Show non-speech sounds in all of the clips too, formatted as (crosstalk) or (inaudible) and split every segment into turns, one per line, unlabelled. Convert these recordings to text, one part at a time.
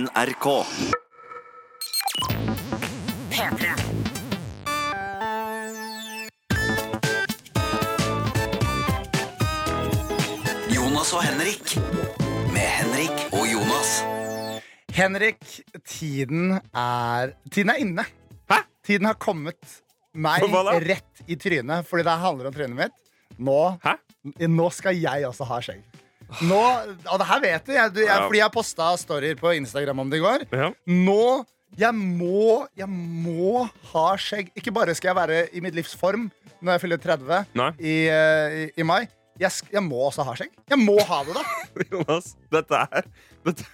NRK. Jonas og Henrik. Med Henrik og Jonas.
Henrik, tiden er Tiden er inne.
Hæ?
Tiden har kommet meg
For hva da?
rett i trynet, fordi det her handler om trynet mitt. Nå,
Hæ?
nå skal jeg også ha skjegg. Nå, og det her vet du, jeg, du jeg,
Ja.
fordi jeg posta storyer på Instagram om det i går.
Ja.
Nå jeg må, jeg må ha skjegg. Ikke bare skal jeg være i mitt livs form når jeg fyller 30
Nei.
i, eh, i, i mai. Jeg, sk- jeg må også ha skjegg. Jeg må ha det, da.
(laughs) Jonas, dette er dette,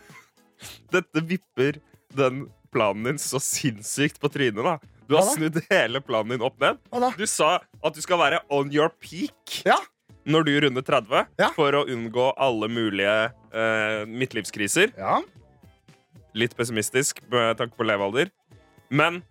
dette vipper den planen din så sinnssykt på trynet, da. Du har
Hva da?
snudd hele planen din opp ned.
Hva da?
Du sa at du skal være on your peak
Ja.
når du runder 30,
Ja.
for å unngå alle mulige eh, midtlivskriser.
ja.
Litt pessimistisk med tanke på levealder. Men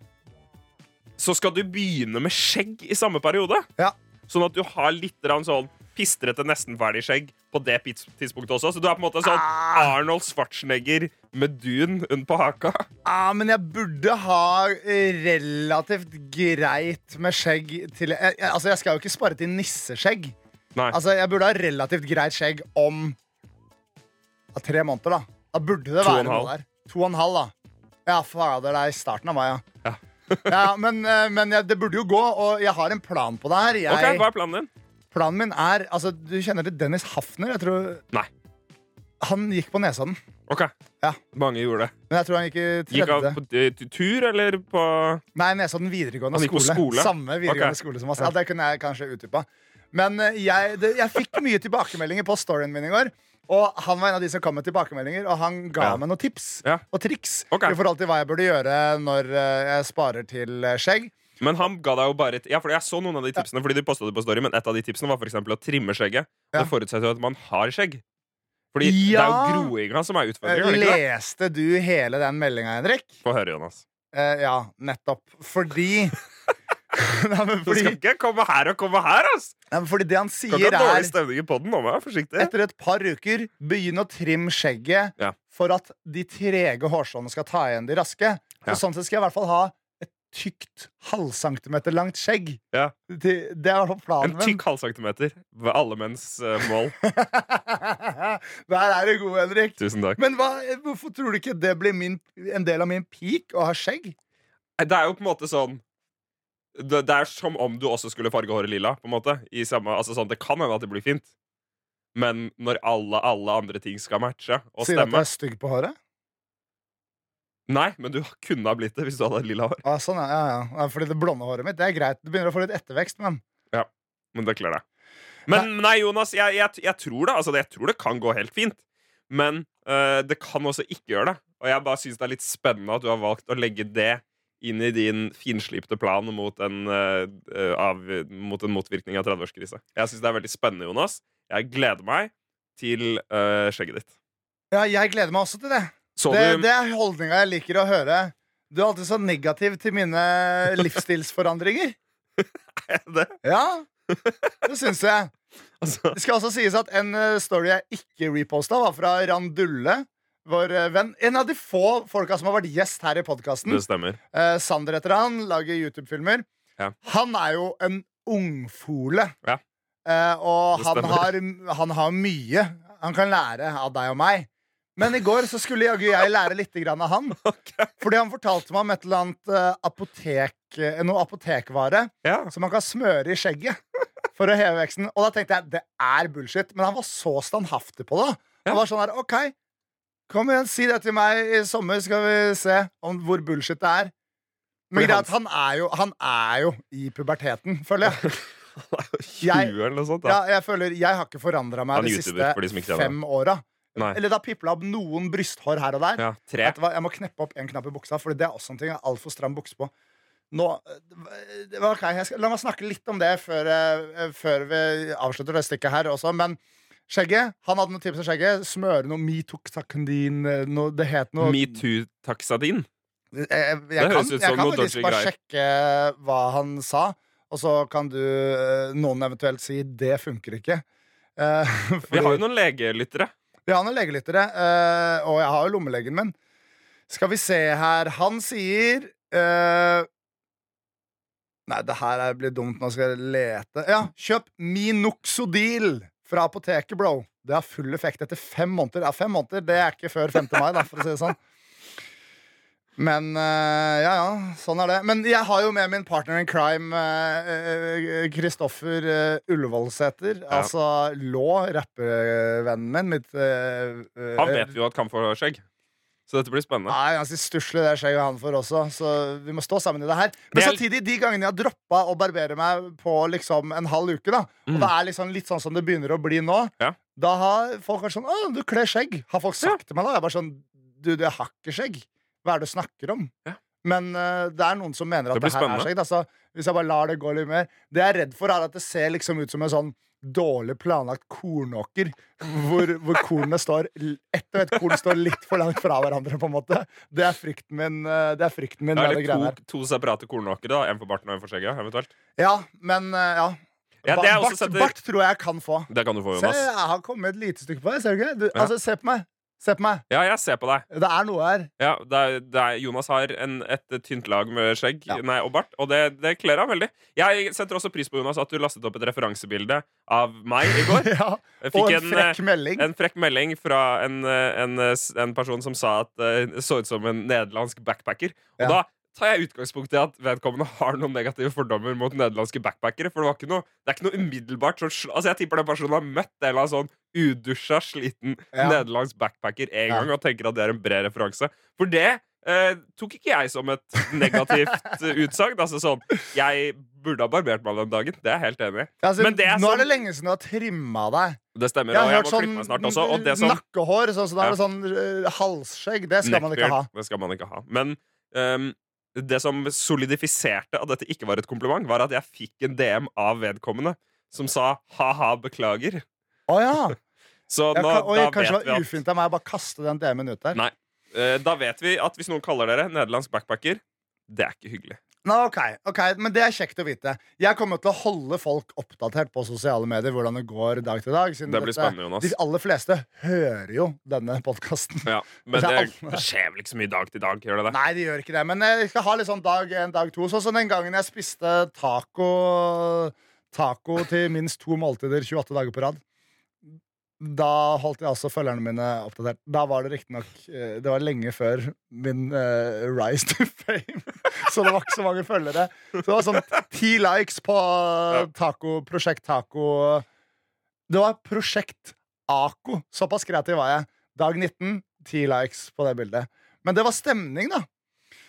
så skal du begynne med skjegg i samme periode.
Ja.
Sånn at du har litt grann sånn pistrete, nesten ferdig skjegg på det pids- tidspunktet også. Så du er på en måte sånn
Ah.
Arnold Schwarzenegger med dun under på haka.
Ja, Ah, men jeg burde ha eh, relativt greit med skjegg til jeg, jeg, Altså, jeg skal jo ikke spare til nisseskjegg.
Nei.
Altså, jeg burde ha relativt greit skjegg om ja, tre måneder, da. Da burde det
To og
være
en halv.
noe der. To og en halv, da. Ja, fader, det er i starten av mai, ja.
Ja.
(laughs) Ja, men eh, men jeg, det burde jo gå, og jeg har en plan på det her. Jeg,
Ok, Hva er planen din?
Planen min er Altså, du kjenner til Dennis Hafner? Jeg tror
Nei.
Han gikk på Nesodden.
Ok,
Ja.
Mange gjorde det.
Men jeg tror han gikk i
Gikk
tredje.
han på t- t- tur, eller på
Nei, Nesodden videregående
Han gikk på
skole.
skole?
Samme videregående
Ok.
skole som oss. Ja, det kunne jeg kanskje utdypa. Men eh, jeg, det, jeg fikk mye tilbakemeldinger på storyen min i går. Og han var en av de som kom med tilbakemeldinger, og han ga
Ja.
meg noen tips
Ja.
og triks
Ok.
i forhold til hva jeg burde gjøre når eh, jeg sparer til eh, skjegg.
Men han ga deg jo bare et Ja, for jeg så noen av de tipsene, fordi de postet det på Story, men et av de tipsene var for eksempel å trimme skjegget.
Ja.
Det forutsetter jo at man har skjegg. Fordi
Ja.
det er jo groinga som er
Eh,
utfordringen. er det ikke det?
Leste du hele den meldinga, Henrik?
Få høre, Jonas.
Eh, ja, nettopp.
(laughs)
Fordi (laughs) Nei, men
Du skal
fordi,
ikke komme her og komme her, ass!
nei, men fordi det han
Du kan ikke
sier,
ha dårlig
er
stemning i poden nå, må jeg være forsiktig.
Etter et par uker, begynn å trimme skjegget
Ja.
for at de trege hårstråene skal ta igjen de raske.
Ja.
Så sånn sett skal jeg i hvert fall ha et tykt halvcentimeter langt skjegg.
Ja.
Det, det er i hvert fall
En
planen min. (laughs)
tykk halvcentimeter ved alle menns eh, mål. (laughs)
Der er du god, Henrik.
Tusen takk.
Men hva, hvorfor tror du ikke det blir min, en del av min peak å ha skjegg?
Det er jo på en måte sånn det, det er som om du også skulle farge håret lilla. På en måte I samme, altså sånn, Det kan hende at det blir fint, men når alle, alle andre ting skal matche og
Sier du at jeg
stemme
er stygg på håret?
Nei, men du (laughs) kunne ha blitt det hvis du hadde hatt lilla hår.
Ah, sånn, ja, ja, ja. ja. Fordi det blonde håret mitt det er greit. Du begynner å få litt ettervekst, men
Men det kler deg. Men nei, Jonas, jeg, jeg, jeg tror det Altså, jeg tror det kan gå helt fint. Men øh, det kan også ikke gjøre det. Og jeg bare syns det er litt spennende at du har valgt å legge det inn i din finslipte plan mot en, øh, øh, av, mot en motvirkning av 30-årskrise. Jeg syns det er veldig spennende, Jonas. Jeg gleder meg til øh, skjegget ditt.
ja, jeg gleder meg også til det.
Så
Det,
du
det er holdninga jeg liker å høre. Du er alltid så negativ til mine livsstilsforandringer.
det? (laughs)
Ja, det syns jeg.
Altså,
Det skal også sies at en eh, story jeg ikke reposta, var fra Randulle. Vår eh, venn. En av de få folka som har vært gjest her i podkasten.
det stemmer.
Eh, Sander heter han. Lager YouTube-filmer.
Ja.
Han er jo en ungfole.
Ja.
Eh, og
Det
han har,
stemmer.
han har mye han kan lære av deg og meg. Men i går så skulle jaggu jeg lære litt grann av han.
(laughs) Ok.
Fordi han fortalte meg om et eller annet eh, apotek, eh, noe apotekvare
Ja. (laughs)
som man kan smøre i skjegget (laughs) for å heve veksten. Og da tenkte jeg det er bullshit, men han var så standhaftig på det.
Ja.
Han var sånn her, OK, kom igjen, si det til meg i sommer, skal vi se om hvor bullshit det er. Men
Fordi
greia er at han er, jo, han er jo i puberteten, føler jeg.
Han er jo 20
Jeg-
eller noe sånt. Da.
Ja, jeg, føler, jeg har ikke forandra
Han
meg
er
de
YouTuber,
siste
for de som ikke kjenner
fem åra.
Nei.
Eller det har pipla opp noen brysthår her og der.
Ja, tre.
Vet du hva, jeg må kneppe opp en knapp i buksa, Fordi det er også en ting. Jeg har altfor stram bukse på. Nå, øh, det var ok, jeg skal, La meg snakke litt om det før, øh, før vi avslutter det stikket her også. Men skjegget Han hadde noen tips om skjegget. Smøre noe metoxakandin øh, noe, Det het noe
Metoo-taksadin.
jeg, jeg,
Det høres
kan,
ut som
jeg kan
noe
faktisk
dodgy
bare
greier.
sjekke hva han sa, og så kan du øh, noen eventuelt si 'det funker ikke'. Eh, (laughs)
Vi
fordi-
har jo noen legelyttere.
vi har noen legelyttere, eh, og jeg har jo lommelegen min. Skal vi se her. Han sier eh, Nei, det her er- blir dumt. Nå skal jeg lete. Ja, kjøp Minoxodil fra apoteket, bro. Det har full effekt etter fem måneder. Ja, fem måneder, Det er ikke før 5. mai, da, for å si det sånn. Men eh, ja, ja, sånn er det. Men jeg har jo med min partner in crime, eh, eh, Kristoffer eh, Ullevålsæter.
Ja.
Altså Lå, rappevennen min. Mitt eh,
Han
eh,
vet vi jo at kan få skjegg. Så dette blir spennende.
Nei, ganske stusslig det skjer jo han for også, så vi må stå sammen i det her. Men
Det er-
samtidig, de gangene jeg har droppa å barbere meg på liksom en halv uke, da, og det er liksom litt sånn som det begynner å bli nå,
Mm. Ja.
da har folk vært sånn 'Å, du kler skjegg'. Har folk sagt til meg da? Jeg er bare sånn Du, du, jeg har ikke skjegg. Hva er det du snakker om?
Ja.
Men eh, det er noen som mener at
Det
det,
blir
her
spennende.
er skjegg. Da, så hvis jeg bare lar det gå litt mer Det jeg er redd for, er at det ser liksom ut som en sånn dårlig planlagt kornåker, hvor, hvor kornene står l- Ett og ett korn står litt for langt fra hverandre, på en måte. Det er frykten min. eh, Det er frykten min
Da
med
er
det
det
greiene her.
to, to separate kornåkere. da En for barten og en for skjegget. eventuelt
Ja, men eh, ja.
Ja,
Ba-
det er også
bart,
sånn setter-
bart tror jeg jeg kan få.
Det kan du få,
Se,
Jonas.
jeg har kommet et lite stykke på det. Ser du ikke? Du, Altså, se på meg. Se på meg.
Ja, jeg ser på deg.
Det er noe her. (laughs)
Ja, det er, det er, Jonas har en, et tynt lag med skjegg
Ja.
nei, og bart, og det, det kler ham veldig. Jeg setter også pris på Jonas at du lastet opp et referansiebilde av meg i
(laughs)
går.
Ja.
Jeg
Og
fikk
en
eh,
frekk melding.
en frekk melding fra en, eh, en, eh, s- en person som sa at eh, det så ut som en nederlandsk backpacker.
Ja.
Og da tar jeg utgangspunkt i at vedkommende (laughs) har noen negative fordommer mot nederlandske backpackere. For det, var ikke noe, det er ikke noe umiddelbart sånn sl- Altså Jeg tipper den personen har møtt en eller annen sånn udusja, sliten
Ja.
nederlandsk backpacker en
Ja.
gang og tenker at det er en bred referanse. For det eh, tok ikke jeg som et
(laughs)
negativt eh, utsagn. Altså sånn Jeg burde ha barbert meg den dagen. Det er jeg helt enig i.
Altså,
men det er
nå
sånn-
er det lenge siden du har trimma deg.
Det stemmer.
Jeg
Og
har
jeg
hørt
må
sånn
klippe meg snart også. Og det som
nakkehår, sånn, så da
Ja.
er det sånn eh, halsskjegg. Det skal man ikke ha.
Neckbeard, Det skal man ikke ha. Men ehm, det som solidifiserte at dette ikke var et kompliment, var at jeg fikk en DM av vedkommende som sa ha-ha, beklager.
Å ja.
Så
Jeg
nå,
kan, oi,
da, vet
kanskje det
vi
var
at,
ufint av meg å bare kaste den DM-en ut der.
Nei. eh, da vet vi at hvis noen kaller dere nederlandsk backpacker, det er ikke hyggelig.
Nå, ok, ok, Men det er kjekt å vite. Jeg kommer til å holde folk oppdatert på sosiale medier hvordan det går dag til dag. Siden
Det blir
dette-
spennende, Jonas.
De aller fleste hører jo denne podkasten.
Ja, men
Det
det,
er alle.
det skjer vel ikke så mye dag til dag, gjør det det?
Nei, de gjør ikke det. Men jeg skal ha litt sånn dag en, dag to. Sånn som den gangen jeg spiste taco, taco til minst to måltider 28 dager på rad. Da holdt jeg også følgerne mine oppdatert. Da var det riktignok eh, Det var lenge før min eh, rise to fame, (laughs) så det var ikke så mange følgere. Så det var sånn ti likes på eh, taco, Prosjekt Taco. Det var Prosjekt Ako. Såpass kreativ var jeg. Dag 19, ti likes på det bildet. Men det var stemning, da.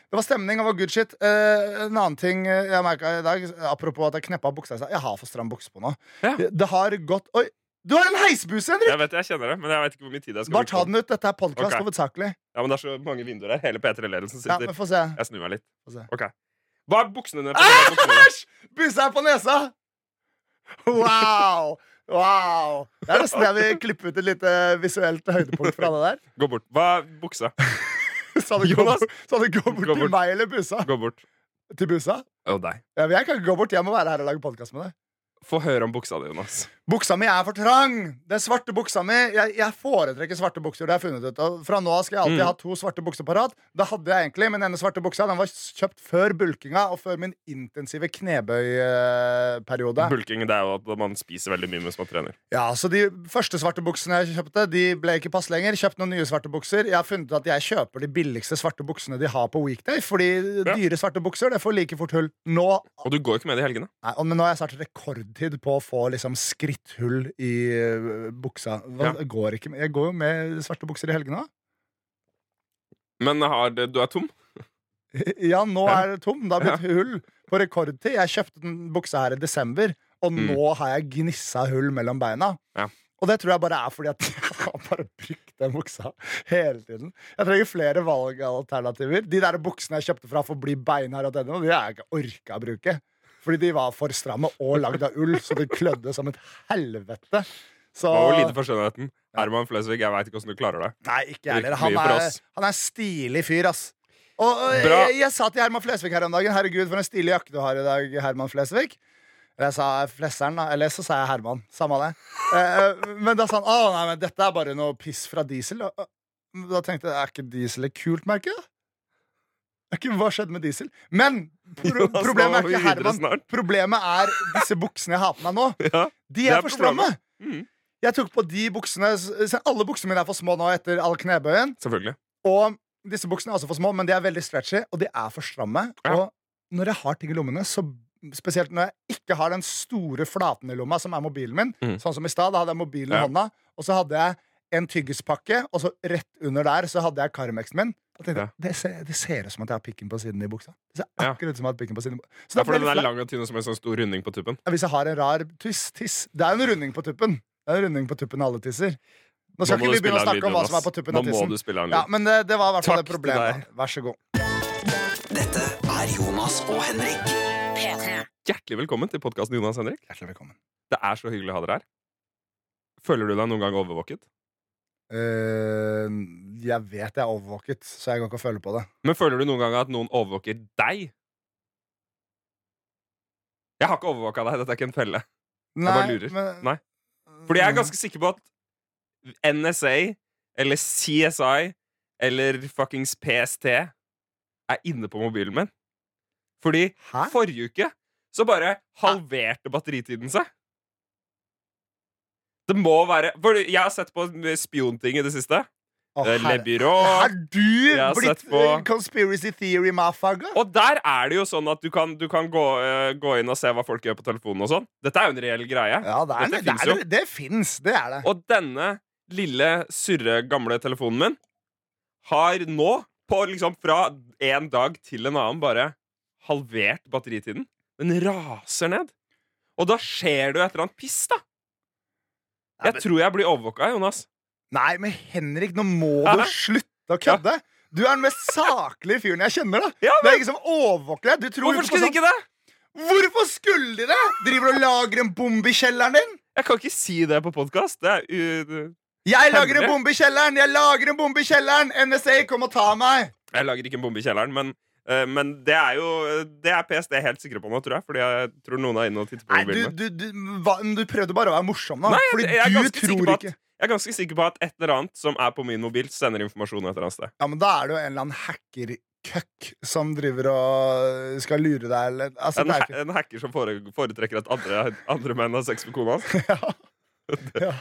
Det var stemning, det var good shit. Eh, en annen ting eh, jeg merka i dag, apropos at jeg kneppa buksa Jeg sa, Jeg har for stram bukse på nå.
Ja.
Det har gått Oi! Du har en heisbuse, Henrik!
Jeg vet, jeg kjenner det, men jeg vet ikke hvor mye tid jeg skal
Bare
bruke
ta
på det.
den ut. Dette er podkast
Ok.
hovedsakelig.
Ja, men det er så mange vinduer her. Hele P3-ledelsen
Ja,
sitter.
men Få se.
Jeg snur meg litt.
Få se.
Ok. Hva er buksene dine? Hva er buksene dine?
Æsj! Busa er på nesa! Wow! Wow! Det er nesten jeg vil klippe ut et lite visuelt høydepunkt fra det der.
Gå bort. Hva er buksa? (laughs)
Så det går,
Jonas,
bort- så det går bort
gå
til
bort.
meg eller busa.
Gå bort.
Til busa?
Og deg.
Ja, men jeg kan ikke gå bort. Jeg må være her og lage podkast med deg.
Få høre om buksa di, Jonas.
Buksa mi er for trang! Den svarte buksa mi Jeg, jeg foretrekker svarte bukser. Det har jeg funnet ut Og Fra nå av skal jeg alltid
Mm.
ha to svarte bukser på rad. Det hadde jeg egentlig, men denne svarte buksa den var kjøpt før bulkinga og før min intensive knebøyperiode.
Bulking det er jo at man spiser veldig mye mens man trener.
Ja, så De første svarte buksene jeg kjøpte, De ble ikke pass lenger. Kjøpt noen nye svarte bukser. Jeg har funnet ut at jeg kjøper de billigste svarte buksene de har på weekday. Fordi
Ja.
dyre svarte bukser Det får like fort hull. Nå
Og du går jo ikke med det i helgene.
Nei, og- Men nå har jeg snart rekordtid på å få liksom skritthull i ø, buksa. Hva,
Ja.
jeg går ikke, med- jeg går jo med svarte bukser i helgene òg.
Men har, du er tom.
(laughs) Ja, nå
Ja.
er det tom. Det har blitt hull på rekordtid. Jeg kjøpte den buksa her i desember, og
Mm.
nå har jeg gnissa hull mellom beina.
Ja.
Og det tror jeg bare er fordi at (laughs) jeg har bare brukt den buksa hele tiden. Jeg trenger flere valgalternativer. De der buksene jeg kjøpte fra Forbli beinhard.no, de har jeg ikke orka å bruke. Fordi de var for stramme og lagd av ull, så de klødde som et helvete. Så
Og lite for skjønnheten. Herman Flesvig, jeg veit ikke åssen du klarer det.
Nei, ikke jeg heller.
Virkelig
Han
for
er,
oss.
han er stilig fyr, ass. Og, og jeg,
Bra.
jeg sa til Herman Flesvig her om dagen Herregud, for en stilig jakke du har i dag, Herman Flesvig. Eller jeg sa Flesseren, da. Eller så sa jeg Herman. Samme det. Eh, men da sa han Å, nei, men dette er bare noe piss fra diesel. Og- og- Da tenkte jeg, er ikke diesel et kult merke? da? Ok, Hva skjedde med diesel? Men
(laughs)
pro
Jonas, nå
problemet
må
er
vi
ikke
videre
Herman.
snart. (laughs)
Problemet er disse buksene jeg har på meg nå.
Ja.
De
Det
er,
er
for stramme.
Mm.
Jeg tok på de buksene se, Alle buksene mine er for små nå etter all knebøyen.
Selvfølgelig.
Og disse buksene er også for små, men de er veldig stretchy, og de er for stramme.
Ja.
Og når jeg har ting i lommene, så spesielt når jeg ikke har den store flaten i lomma, som er mobilen min,
Mm.
sånn som i stad, da hadde jeg mobilen i
Ja.
hånda, og så hadde jeg en tyggispakke, og så rett under der så hadde jeg Carmex-en min. Og tenkte,
Ja.
det, ser, det ser ut som at jeg har pikken på siden i buksa. Det ser
Ja.
akkurat ut som at jeg har pikken på siden i buksa. Så
Det
da
er
ble
fordi den
jeg
er
litt
lang og tynn og som en sånn stor runding på tuppen.
ja, Hvis jeg har en rar tiss, tiss Det er jo en runding på tuppen. Det er jo en runding på tuppen alle tisser. Nå skal
må
ikke
du
vi begynne å
spille av en
snakke om
lyd,
hva som er på
Jonas.
tuppen av
Nå må du
tissen.
spille av en
Ja,
lyd.
men det, det var i hvert fall
Takk
det
til
problemet.
deg.
Vær så god.
Dette er Jonas og Henrik.
Hjertelig velkommen til podkasten Jonas Henrik.
Hjertelig velkommen.
Det er så hyggelig å ha dere her. Føler du deg noen gang overvåket?
Eh, jeg vet jeg er overvåket, så jeg kan ikke føle på det.
Men føler du noen gang at noen overvåker deg? Jeg har ikke overvåka deg. Dette er ikke en felle. bare lurer.
men-
Nei. Fordi
Mm.
jeg er ganske sikker på at NSA eller CSI eller fuckings PST er inne på mobilen min. Fordi
Hæ?
forrige uke så bare halverte batteritiden seg. Det må være For jeg har sett på spionting i det siste.
Å,
Eh, Le
herre-
Bureau.
Er du
Jeg har
blitt
sett på-
eh, conspiracy theory mafaga?
Og der er det jo sånn at du kan, du kan gå, eh, gå inn og se hva folk gjør på telefonen og sånn. Dette er jo en reell greie.
Ja, det, er,
Dette
det,
finnes
er,
jo.
det, fins. Det er det.
Og denne lille, surre, gamle telefonen min har nå, på liksom fra en dag til en annen, bare halvert batteritiden. Den raser ned. Og da skjer det jo et eller annet piss, da.
Nei,
Jeg tror jeg blir overvåka, Jonas.
Nei, men Henrik, nå må du
Hæ?
slutte å kødde! Du er den mest saklige fyren jeg kjenner. da
Ja,
Det er ikke som overvåker deg. Du tror
Hvorfor
på
skulle de
sånn-
ikke det?
Hvorfor skulle de det?! Driver og lager en bombe i kjelleren din?
Jeg kan ikke si det på podkast. Det er u...
Jeg lager en
Hemmelig.
bombe i kjelleren! Jeg lager en bombe i kjelleren! NSA, kom og ta meg!
Jeg lager ikke en bombe i kjelleren, men, eh, men det er jo Det er PST helt sikre på nå, tror jeg. Fordi jeg tror noen er inne og titter på
Nei, du,
mobilen min.
du, du, hva, men du prøvde bare å være morsom, da.
Nei, jeg,
Fordi
jeg, er
du
ganske sikker
tror
på at,
ikke
jeg er ganske sikker på at et eller annet som er på min mobil, sender informasjon et eller annet sted.
Ja, men Da er det jo en eller annen hackerkøkk som driver og øh, skal lure deg, eller altså,
En,
det er
ha- en hacker som fore- foretrekker at andre, andre menn har sex med kona hans. (laughs)
ikke... ja. Ja.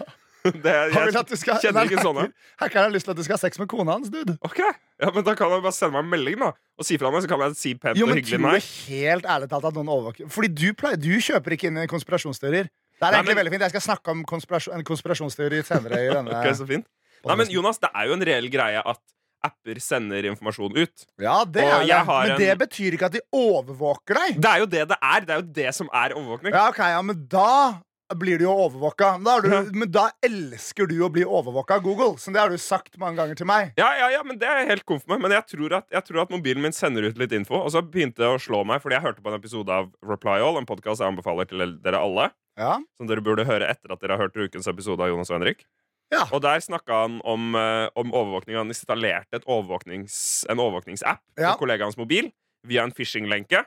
Det,
Han vil
jeg,
at du skal
kjenner ikke
Nei,
sånne.
Hackeren har lyst til at du skal ha sex med kona hans, dude.
ok, ja, men Da kan han bare sende meg en melding da og si fra meg, så kan jeg si pent
Jo,
og
men
hyggelig
tror du
nei.
helt ærlig talt at noen overvåker Fordi du, pleier, du kjøper ikke inn i konspirasjonsteorier. Det er
Nei,
egentlig
men-
veldig fint Jeg skal snakke om konspirasjon, en konspirasjonsteori senere. i denne
(laughs) Ok, så fint Nei, men Jonas, det er jo en reell greie at apper sender informasjon ut.
Ja, det
Og
er det.
jeg har
Men
en-
det betyr ikke at de overvåker deg.
Det er jo det det er. Det er jo det som er overvåkning.
Ja, ok, ja, men da blir du jo overvåka. Men da, er
Ja.
du, men da elsker du å bli overvåka av Google. Så det har du sagt mange ganger til meg.
Ja, ja, ja, men det er jeg helt komf med. Men jeg tror, at, jeg tror at mobilen min sender ut litt info. Og så begynte det å slå meg, fordi jeg hørte på en episode av Reply All, en podkast jeg anbefaler til dere alle,
Ja,
som dere burde høre etter at dere har hørt ukens episode av Jonas og Henrik.
Ja.
Og der snakka han om, eh, om overvåkning. Han installerte et overvåknings, en overvåkningsapp
Ja.
på kollegaens mobil via en phishing-lenke.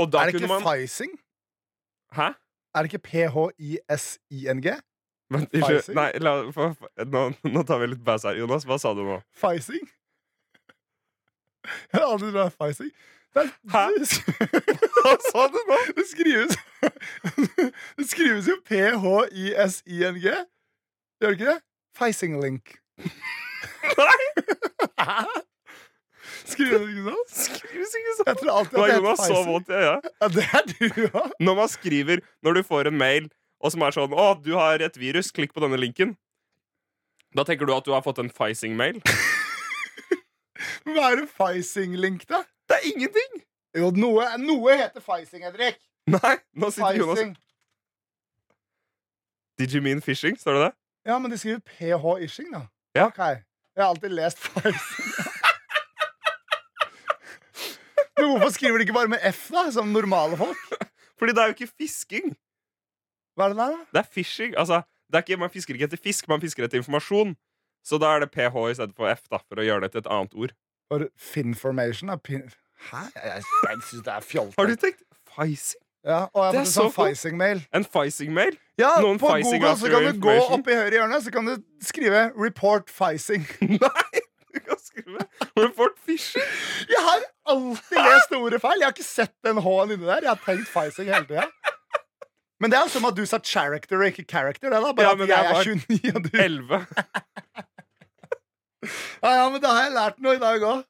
Og da
Er det
kunne
ikke
man
physing?
Hæ?
Er det ikke PHISING?
Vent,
Phishing?
unnskyld. Nei, la, få- få- nå, nå tar vi litt pause her. Jonas, hva sa du
(laughs)
nå?
Physing? Jeg har aldri trodd det var physing. Det er-
Hæ?
det sk-
Hva sa du nå?
Det skrives Det skrives jo PHISING. Gjør det ikke det? Physing link.
Nei!
Skrives det ikke sånn?
Skrives ikke sånn.
Jeg tror alltid at
Nå er
det
Jonas så
heter physing.
våt i øya.
Ja, det er du òg.
Når man skriver, når du får en mail og som er sånn 'Å, du har et virus. Klikk på denne linken.' Da tenker du at du har fått en Fising-mail.
Hva er en physing-link, da?
Det er ingenting!
Jo, noe, noe heter physing, Henrik.
Nei, nå sitter Jonas
Physing.
Did you mean fishing? Står det det?
Ja, men de skriver ph-ishing, da.
Ja.
Ok. Jeg har alltid lest physing. (laughs) men hvorfor skriver de ikke bare med f, da? Som normale folk?
Fordi det er jo ikke fisking.
Hva er det der, da?
Det er fishing. Altså, det er ikke, man fisker ikke etter fisk, man fisker etter informasjon. Så da er det ph i stedet for f, da, for å gjøre det til et annet ord.
For finformation er pin... Hæ? Jeg, jeg syns det er fjolte.
Har du tenkt Fising?
Ja, og jeg
Det er
har fått en
så cool.
sånn physing-mail.
En Fising-mail?
Ja,
Noen
på
physing
Google
after
så kan du gå
information.
opp i høyre hjørne, så kan du skrive 'report physing'.
Nei! Du kan skrive Har du fått Fischer?
(laughs) Jeg har alltid lest ordet feil. Jeg har ikke sett den H-en inni der. Jeg har tenkt Faising hele tida. Men det er jo som at du sa character og ikke character. Det da Bare
Ja,
at
men
jeg,
jeg
er 29, og du
Elleve.
ja, ja, men da har jeg lært noe i dag òg.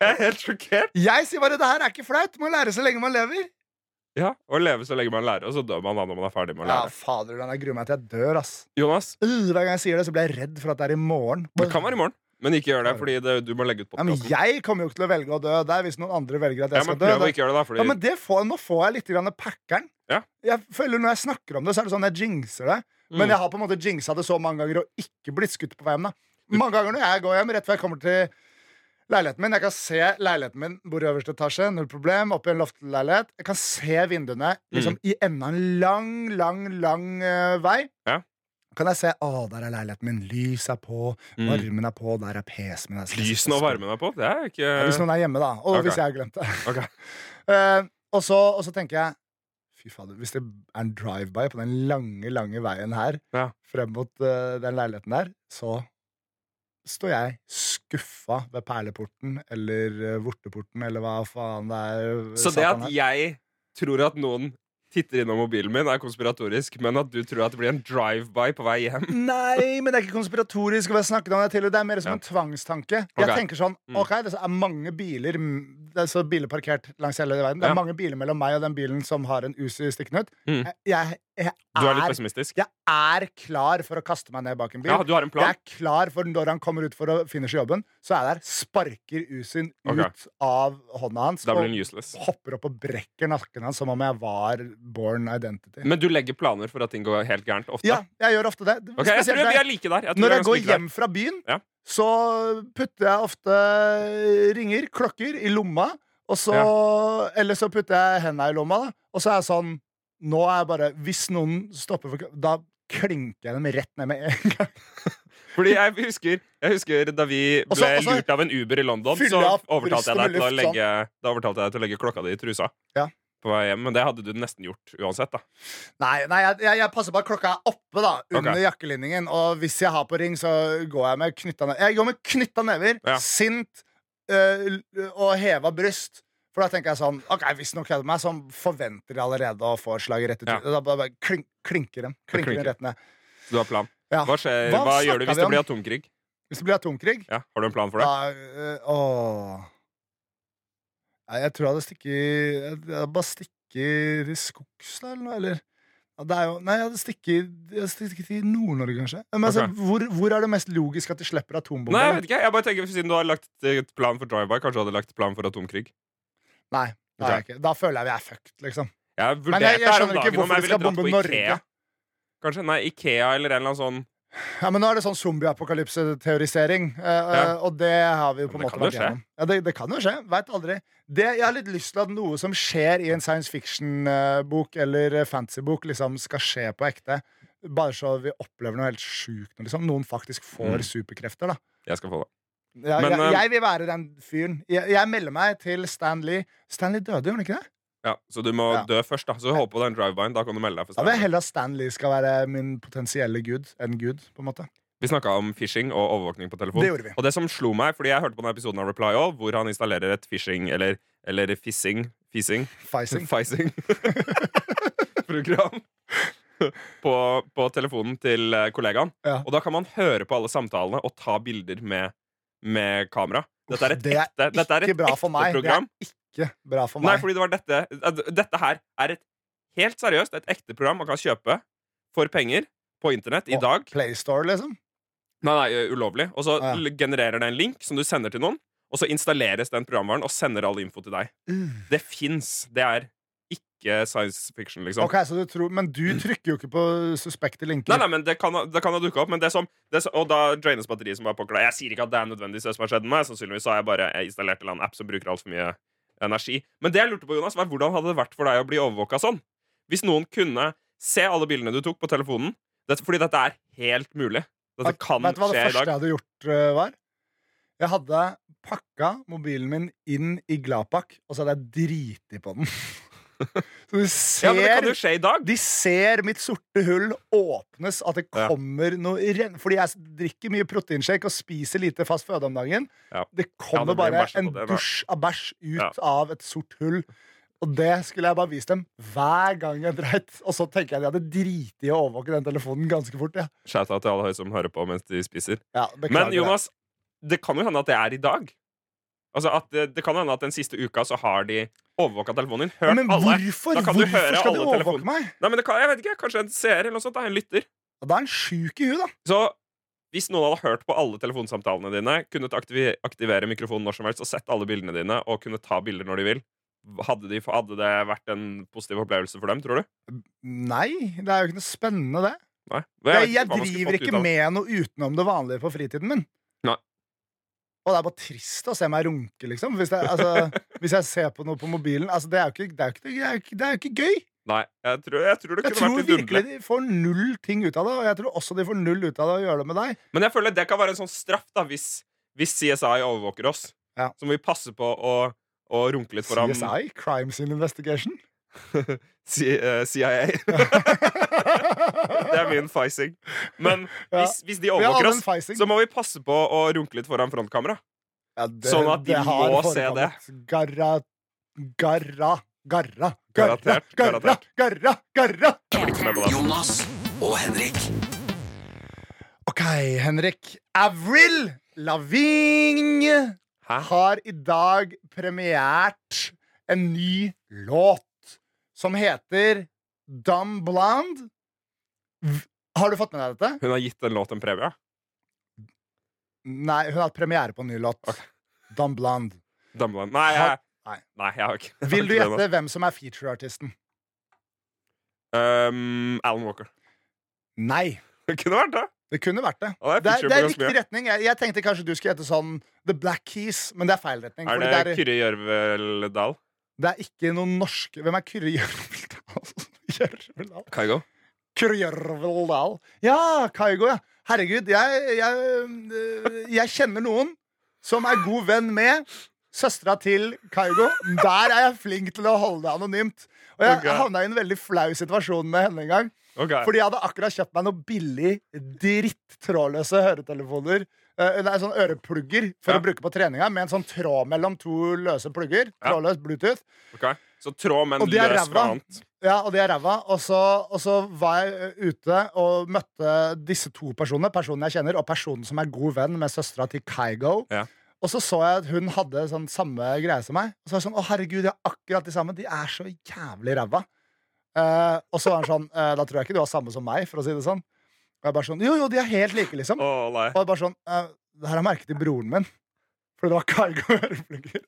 Jeg er helt sjokkert.
Jeg sier bare det her er ikke flaut. Må lære så lenge man lever.
Ja, Å leve så lenge man lærer, og så dør man da når man er ferdig med å
Ja,
lære.
fader, den jeg gruer meg til jeg dør, ass.
Jonas,
Øh, Hver gang jeg sier det, så blir jeg redd for at det er i morgen.
det kan være i morgen, men ikke gjør det, fordi det, du må legge ut
Ja, men
podkasten.
jeg kommer jo ikke til å velge å dø der hvis noen andre velger at jeg
Ja,
skal
men
dø.
prøv å
Det-
ikke gjøre det, da. Fordi,
Ja, men det får, Nå får jeg litt grann packeren.
Ja.
Jeg føler Når jeg snakker om det, så er det sånn jeg jinxer det. Men
Mm.
jeg har på en måte jinxa det så mange ganger og ikke blitt skutt på vei hjem. da Mange ganger når jeg går hjem, rett før jeg kommer til leiligheten min Jeg kan se leiligheten min bor i øverste etasje, null problem, opp i en loftleilighet. Jeg kan se vinduene liksom
Mm.
i enden av en lang, lang, lang eh, vei.
Ja.
Kan jeg se Å, der er leiligheten min. Lys er på,
Mm.
varmen er på, der er PC-en min. Jeg skal-
Lysen og varmen er på, det er ikke
Ja, Hvis noen er hjemme, da. Og
eh, Ok.
hvis jeg har glemt det.
Ok.
(laughs) Eh, og, så, og så tenker jeg Fy fader, hvis det er en drive-by på den lange, lange veien her
Ja.
frem mot eh, den leiligheten der, så står jeg skuffa ved perleporten eller eh, vorteporten eller hva faen det er. eh,
Så det
satan
at
er.
jeg tror at noen titter innom mobilen min, er konspiratorisk, men at du tror at det blir en drive-by på vei hjem
Nei, men det er ikke konspiratorisk. hva jeg snakket om det tidligere. Det er mer som
Ja.
en tvangstanke.
Ok.
Jeg tenker sånn,
Mm.
ok, Det er mange biler mm, Det er så biler parkert langs hele verden. Det er
Ja.
mange biler mellom meg og den bilen som har en USU stikkende ut.
Mm.
Jeg, jeg, jeg,
Du er litt
er,
pessimistisk?
jeg er klar for å kaste meg ned bak en bil.
Ja, du har en
Jeg
plan?
er klar for når han kommer ut for å finish jobben, så er jeg der, sparker Usin
Ok.
ut av hånda hans
Da blir
og
den useless.
hopper opp og brekker nakken hans som om jeg var born identity.
Men du legger planer for at ting går helt gærent ofte?
Ja, jeg gjør ofte det.
Ok, jeg
Spesielt
tror
når
vi
jeg-
er like der. Jeg tror
når
vi er
jeg går
ganske like der.
hjem fra byen,
Ja.
så putter jeg ofte ringer, klokker, i lomma. Og så, Eller så putter jeg henda i lomma, da. Og så er jeg sånn Nå er jeg bare Hvis noen stopper for Da klinker jeg dem rett ned med en gang.
Fordi jeg husker, jeg husker da vi ble
Og så- og så-
lurt av en Uber i London,
Fylle
så
av
overtalte
brystet
jeg, deg til å
med luft, sånn.
legge, da overtalte jeg deg til å legge klokka di i trusa.
Ja.
På vei hjem, Men det hadde du nesten gjort uansett. da
Nei, nei jeg, jeg, jeg passer på at klokka er oppe, da. Under
Ok.
jakkelinningen. Og hvis jeg har på ring, så går jeg med knytta never. Jeg går med knytta never,
Ja.
sint øh, l- og heva bryst. For da tenker jeg sånn Ok, hvis noen kødder med meg, så forventer de allerede å få slaget rett i
Ja.
trynet. Da bare, bare klink, klinker dem. Klinker dem
klinker.
rett ned.
Så du har plan.
Ja.
Hva, skjer, hva,
Hva
gjør du
snakket
hvis
vi
det
om?
blir atomkrig?
Hvis det blir atomkrig,
Ja, Har du en plan for det?
da øh, Åh. Nei, jeg tror jeg hadde stikket Jeg hadde bare stikket i skogs, da, eller noe? Eller? Ja, det er jo, nei, jeg hadde stikket, jeg hadde stikket i Nord-Norge, kanskje. Men altså,
Ok.
hvor, hvor er det mest logisk at de slipper
Nei, jeg
atombomber?
vet ikke. jeg bare tenker Siden du har lagt eh, et plan for drive-by, kanskje du hadde lagt plan for atomkrig?
Nei, da, er jeg
Ok.
ikke. da føler jeg vi er fucked, liksom.
Jeg
Men
vurderte
jeg, jeg
her om
skjønner ikke
dagen om
hvorfor
jeg
de skal
ville dratt
bombe
på Ikea.
Norge.
Kanskje, nei, Ikea eller en eller annen sånn
Ja, men Nå er det sånn zombieapokalypse-teorisering, eh, eh, og det har vi jo på en
Men
måte
det kan jo
vært
skje.
gjennom. Ja, det, det kan jo skje. Vet aldri. Det, jeg har litt lyst til at noe som skjer i en science fiction-bok eller eh, fantasy-bok, liksom skal skje på ekte. Bare så vi opplever noe helt sjukt. når Liksom. Noen faktisk får
Mm.
superkrefter. da
Jeg skal få det.
jeg,
Men,
jeg,
eh,
jeg vil være den fyren. Jeg, jeg melder meg til Stan Lee. Stan Lee døde, gjorde han ikke det?
Ja, Så du må
Ja.
dø først, da. Så håp på den drive-byen. Da kan du melde deg. for
Da vil jeg
standup.
heller at Stan Lee skal være min potensielle gud enn gud. på en måte
Vi snakka om phishing og overvåkning på telefon.
Det gjorde vi.
Og det som slo meg, fordi jeg hørte på den episoden av Reply All, hvor han installerer et phishing, eller, eller fissing, fissing,
Fising.
(laughs) fising program på, på telefonen til eh, kollegaen.
Ja.
Og da kan man høre på alle samtalene og ta bilder med, med kamera. Dette er et
Det er
ekte, dette er et
ikke bra
ekte
for meg. Det
program.
er ikke bra for
Nei,
meg.
fordi det var dette at Dette her er et helt seriøst et ekte program man kan kjøpe for penger på internett i
Å,
dag.
PlayStore, liksom.
Nei, nei, ø, ulovlig. Og så
Ah, ja.
l- genererer det en link som du sender til noen, og så installeres den programvaren og sender all info til deg. Det fins. Det er ikke science fiction, liksom.
Ok, så du tror, Men du trykker jo ikke på suspekte linker.
Nei, nei, men Det kan, ha- det kan ha dukka opp, men det som, det som, og da draines batteriet som var påkla. Jeg sier ikke at det er nødvendigvis det som har skjedd med meg. Sannsynligvis har jeg bare jeg installert en eller annen app som bruker altfor mye energi. Men det jeg lurte på, Jonas, var hvordan hadde det vært for deg å bli overvåka sånn? Hvis noen kunne se alle bildene du tok på telefonen dette, Fordi dette er helt mulig. Dette
Vet-
kan
Vet du hva det
skje i
første
dag.
jeg hadde gjort, øh, var? Jeg hadde pakka mobilen min inn i Gladpakk, og så hadde jeg driti på den. (laughs) Så de
Ja, men det kan
ser,
jo skje i dag.
de ser mitt sorte hull åpnes, at det
Ja.
kommer noe renn... Fordi jeg drikker mye proteinshake og spiser lite fast føde om dagen.
Ja.
Det
Ja,
kommer
det blir
bare
bæsj på
en
det, da.
dusj av bæsj ut
Ja.
av et sort hull. Og det skulle jeg bare vist dem hver gang jeg dreit. Og så tenker jeg de hadde driti i å overvåke den telefonen ganske fort. Ja.
Shout-out til alle høy som hører på mens de spiser.
Ja, beklager
Men
det.
Jonas, det kan jo hende at det er i dag. Altså at det, det kan hende at den siste uka så har de overvåka telefonen din. Hørt
Men
alle.
hvorfor?
Da kan du høre
hvorfor skal
alle
du
telefoner.
overvåke meg?
Nei, men det kan, jeg vet ikke, Kanskje en seer eller noe sånt. Da, en lytter.
Og Da er han sjuk i huet, da.
Så hvis noen hadde hørt på alle telefonsamtalene dine, kunnet aktivi- aktivere mikrofonen når som helst og sett alle bildene dine og kunne ta bilder når de vil, hadde, de, hadde det vært en positiv opplevelse for dem, tror du?
Nei, det er jo ikke noe spennende, det.
Nei.
Jeg,
vet
jeg
hva man skulle
driver
fått ut
ikke
av det.
med noe utenom det vanlige på fritiden min.
Nei.
Og det er bare trist å se meg runke, liksom. Hvis jeg, altså, (laughs) hvis jeg ser på noe på mobilen. Altså, det, er jo ikke, det, er jo ikke, det, er jo ikke, det er jo ikke gøy.
Nei, jeg tror, jeg tror det
Jeg
kunne
tror
vært litt
virkelig
underlig.
de får null ting ut av det, og jeg tror også de får null ut av det å gjøre det med deg.
Men jeg føler det kan være en sånn straff da hvis, hvis CSI overvåker oss.
Ja.
Så må vi passe på å, å runke litt foran
CSI, Crime Scene
(laughs)
Investigation.
C- eh, CIA. (laughs) det er min feising. Men
Ja.
hvis, hvis
(laughs)
de
Vi har
overvåker
alle en
oss,
feising.
så må vi passe på å runke litt foran frontkamera.
Ja, det-
sånn at de
det har
må se
forekommet. Garra, garra, garra, garra,
Garantert,
garra,
garantert.
garra, garra.
Jeg blir ikke med på det.
Jonas og Henrik.
Ok, Henrik. Avril Lavigne
Hæ?
har i dag premiert en ny låt som heter Dumb Blonde. V- Har du fått med deg dette?
Hun har gitt en låt en premie.
Nei, hun har hatt premiere på en ny låt. Dumb Blonde.
Dumbland. Nei, jeg,
Nei.
nei, jeg har ikke jeg har
Vil du
ikke det nå.
gjette hvem som er featureartisten?
Um, Alan Walker. (laughs)
Nei.
Det kunne vært det.
Det kunne vært det.
Han er
Det er,
featured
det er
på ganske
riktig
mye.
retning. Jeg, jeg tenkte kanskje du skulle hete sånn The Black Keys, men det er feil retning.
Er
fordi
det,
det, er,
Kyrre Gjørvel Dahl?
det er ikke noen norske Hvem er Kyrre (laughs) Gjørveldal? Gjørveldal?
Kygo?
Kyrre Gjørveldal. Ja, Kaigo, ja. Herregud, jeg, jeg, øh, jeg kjenner noen som er god venn med søstera til Kaigo. Der er jeg flink til å holde det anonymt. Og jeg
Ok.
havna i en veldig flau situasjon med henne en gang.
Ok.
Fordi jeg hadde akkurat kjøpt meg noen billig, dritt-trådløse høretelefoner. Eh, det er sånne øreplugger for
Ja.
å bruke på treninga, med en sånn tråd mellom to løse plugger.
Ja.
Trådløs Bluetooth.
Ok. Så trå, men
Og de er
løs fra
ræva.
annet.
Ja, Og de er ræva. Og så, og så var jeg eh, ute og møtte disse to personene. Personen jeg kjenner, og personen som er god venn med søstera til Kygo.
Ja.
Og så så jeg at hun hadde sånn samme greie som meg. Og så var jeg sånn, å herregud, de har akkurat de samme. De er så jævlig ræva. Eh, og så var han sånn, eh, da tror jeg ikke du har samme som meg, for å si det sånn. Og jeg bare sånn, jo, jo, de er helt like, liksom.
Å, nei.
Og bare sånn eh, Det her har jeg merket til broren min. Fordi det var Cargo øreflugger.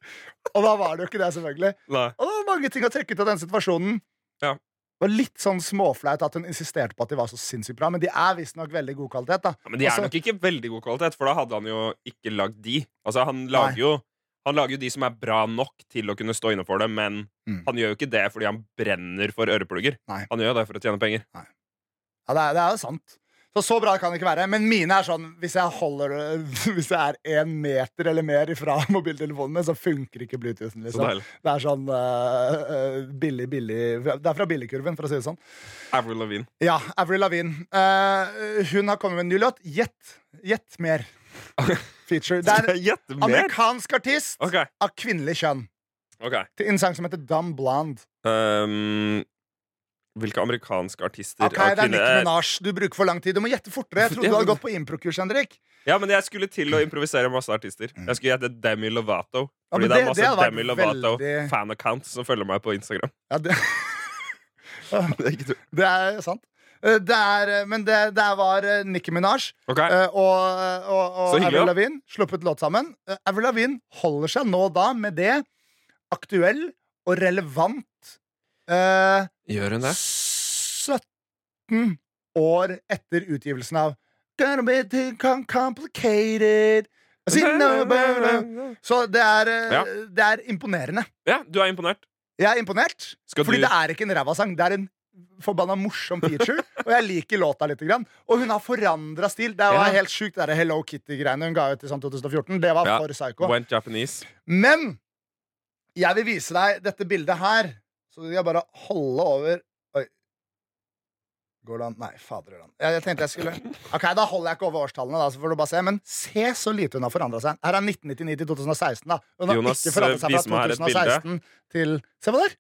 Og da var det jo ikke det, selvfølgelig.
nei.
Og det var mange ting å trekke ut av den situasjonen.
Ja.
Det var litt sånn småflaut at hun insisterte på at de var så sinnssykt bra, men de er visstnok veldig god kvalitet, da.
Ja, Men de er
Altså-
nok ikke veldig god kvalitet, for da hadde han jo ikke lagd de. Altså, han lager, jo, han lager jo de som er bra nok til å kunne stå inne for det, men
Mm.
han gjør jo ikke det fordi han brenner for øreplugger.
Nei.
Han gjør det for å tjene penger.
Ja, det er, det er jo sant. Så så bra kan det ikke være. Men mine er sånn hvis jeg, holder, (laughs) hvis jeg er én meter eller mer ifra (laughs) mobiltelefonen min, så funker ikke Bluetoothen.
Så
Liksom.
deilig.
Det er sånn eh, eh, billig, billig Det er fra billigkurven, for å si det sånn.
Avril Lavigne.
Ja, Avril Lavigne. Eh, hun har kommet med en ny låt. Gjett. Gjett
(laughs)
mer. Feature. (laughs) Det er en
Gjett mer!
amerikansk artist
Ok.
av kvinnelig kjønn.
ok
Til en sang som heter Dumb Blonde.
um, Hvilke amerikanske artister
Ok, det er
kunne-
Nicki Minaj. Du bruker for lang tid. Du må gjette
(laughs)
fortere. Jeg trodde du hadde gått på improkurs, Henrik.
Ja, men jeg skulle til å improvisere masse artister. Jeg skulle gjette Demi Lovato.
Mm. Ja, men
Fordi det,
det-
er masse
det hadde vært
Demi Lovato
veldig-
fan-accounts som følger meg på Instagram.
Ja, det, (laughs)
(laughs) Det er ikke tull.
det er sant. Eh, Det er, men det, det var eh, Nicki Minaj
Ok.
eh, og, og,
Så
og
hyggelig,
Avril
da.
Lavigne sluppet låt sammen. Eh, Avril Lavigne holder seg nå da med det aktuell og relevant eh,
Gjør hun det?
17 år etter utgivelsen av Gonna be too com- complicated I see no better. Så det er, eh,
Ja.
det er imponerende.
Ja, du er imponert.
Jeg er imponert,
Skal
fordi
du
det er ikke en ræva sang. Det er en forbanna morsom feature, og jeg liker låta litt. Grann. Og hun har forandra stil. Det var
Ja.
helt sjukt, det der Hello Kitty-greiene hun ga ut i sånn 2014. Det var
Ja.
for psycho.
Went Japanese.
Men jeg vil vise deg dette bildet her, Så du skal bare holde over Oi. Går det an? Nei, fader gjør han. Jeg, jeg tenkte jeg skulle Ok, da holder jeg ikke over årstallene, da, så får du bare se. Men se så lite hun har forandra seg. Her er 1999 til 2016, da. Hun har
Jonas,
ikke forandret seg
vis meg
fra
her et bilde.
2016 til Se på der!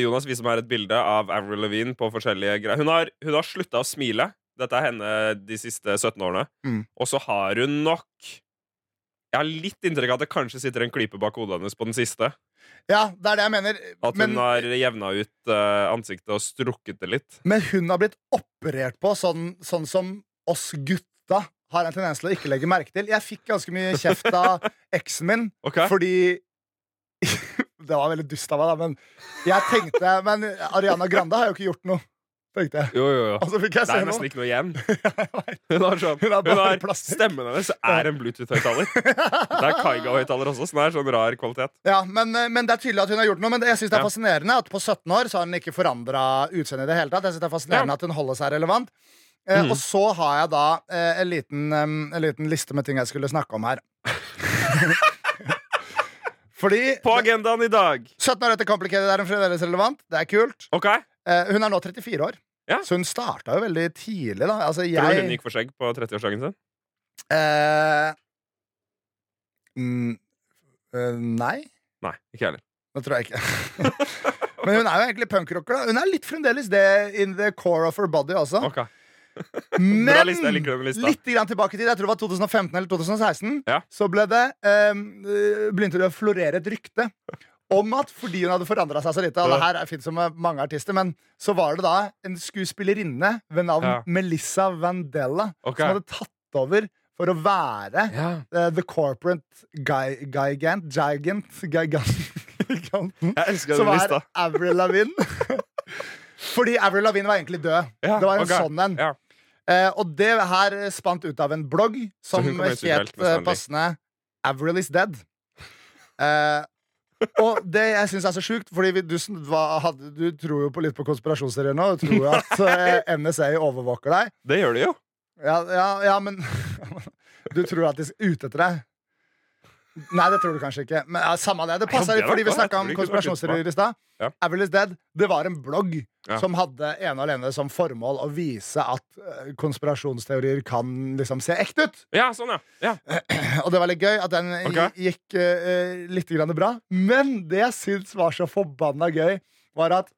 Jonas viser meg her et bilde av Avril Lavigne på forskjellige greier. Hun har, hun har slutta å smile. Dette er henne de siste 17 årene.
Mm.
Og så har hun nok Jeg har litt inntrykk av at det kanskje sitter en klype bak hodet hennes på den siste.
Ja, det er det jeg mener.
At hun
men,
har jevna ut eh, ansiktet og strukket det litt.
men hun har blitt operert på, sånn, sånn som oss gutta har en tendens til å ikke legge merke til. Jeg fikk ganske mye kjeft av eksen min
Ok?
Fordi (laughs) Det var veldig dust av meg, da, men jeg tenkte Men Ariana Grande har jo ikke gjort noe, tenkte jeg.
Jo, jo, jo.
Og så fikk jeg
Det
se
er nesten
noe.
ikke noe
(laughs)
igjen.
Jeg
Hun har sånn
Hun har
hun
bare
har,
plastikk.
Stemmen hennes er en Bluetooth-høyttaler.
vet.
Det er Kaiga-høyttaler også, så det er sånn rar kvalitet.
Ja, men, eh, men det er tydelig at hun har gjort noe. Men det- jeg synes det er
Ja.
fascinerende at på 17 år så har hun ikke forandra utseendet i det hele tatt. Jeg synes det er fascinerende
Ja. Mm.
at hun holder seg relevant. Eh, Og så har jeg da eh, en, liten, em, en liten liste med ting jeg skulle snakke om
(laughs)
her. Fordi
På agendaen i dag.
17 år etter Complicated er hun fremdeles relevant. Det er kult.
OK?
Eh, hun er nå 34 år,
Ja.
så hun starta jo veldig tidlig, da. Altså,
Tror du hun
jeg
gikk for skjegg på 30-årsdagen sin?
eh, mm, eh, Nei,
Nei, ikke heller.
det tror jeg ikke. (laughs) Men hun er jo egentlig punkrocker. da Hun er litt fremdeles det in the core of her body også.
Ok
Men
Bra liste, jeg liker den lista.
litt grann tilbake i tid, jeg tror det var 2015 eller 2016,
Ja.
så ble det um, begynte det å florere et rykte om at fordi hun hadde forandra seg så lite, og det her fins som mange artister, men så var det da en skuespillerinne ved navn
Ja.
Melissa Vandella
Ok.
som hadde tatt over for å være
Ja.
eh, the corporate guy, gigant Gigant gigant- Giganten
Jeg elsker
som
den
er
lista.
Avril Lavigne. (laughs) Fordi Avril Lavigne var egentlig død.
Ja,
det var en
ok.
sånn en.
Ja.
Eh, og det her spant ut av en blogg som
hun kommer
het
ut uthvilt, mest
eh,
sannsynlig.
passende Avril is dead. Eh, og det jeg syns er så sjukt, Fordi vi, du, sn- hva, hadde, du tror jo på litt på konspirasjonsserier nå. Du tror jo
(laughs)
at eh, NSA overvåker deg.
Det gjør det jo.
Ja, ja, ja men (laughs) Du tror at de er ute etter deg? Nei, det tror du kanskje ikke. Men ja, Samme det. Det passer
Ja,
litt,
det
fordi vi
var- jeg
snakka
tror
om
ikke det var
konspirasjonsteorier i stad.
Ja.
Avril is dead. Det var en blogg
Ja.
som hadde ene og alene som formål å vise at eh, konspirasjonsteorier kan liksom se ekte ut.
Ja, sånn, ja. ja.
(laughs) Og det var litt gøy at den i-
Ok.
gikk eh, litt grann bra. Men det jeg syns var så forbanna gøy, var at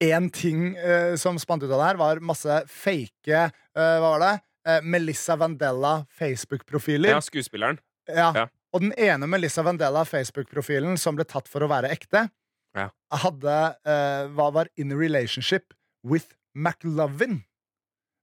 én ting eh, som spant ut av det her, var masse fake eh, Hva var det? Eh, Melissa Vandella Facebook-profiler.
ja skuespilleren.
Ja.
Ja.
Og den ene Melissa Vandela, Facebook-profilen, som ble tatt for å være ekte,
Ja.
hadde eh, Hva var in a relationship with McLovin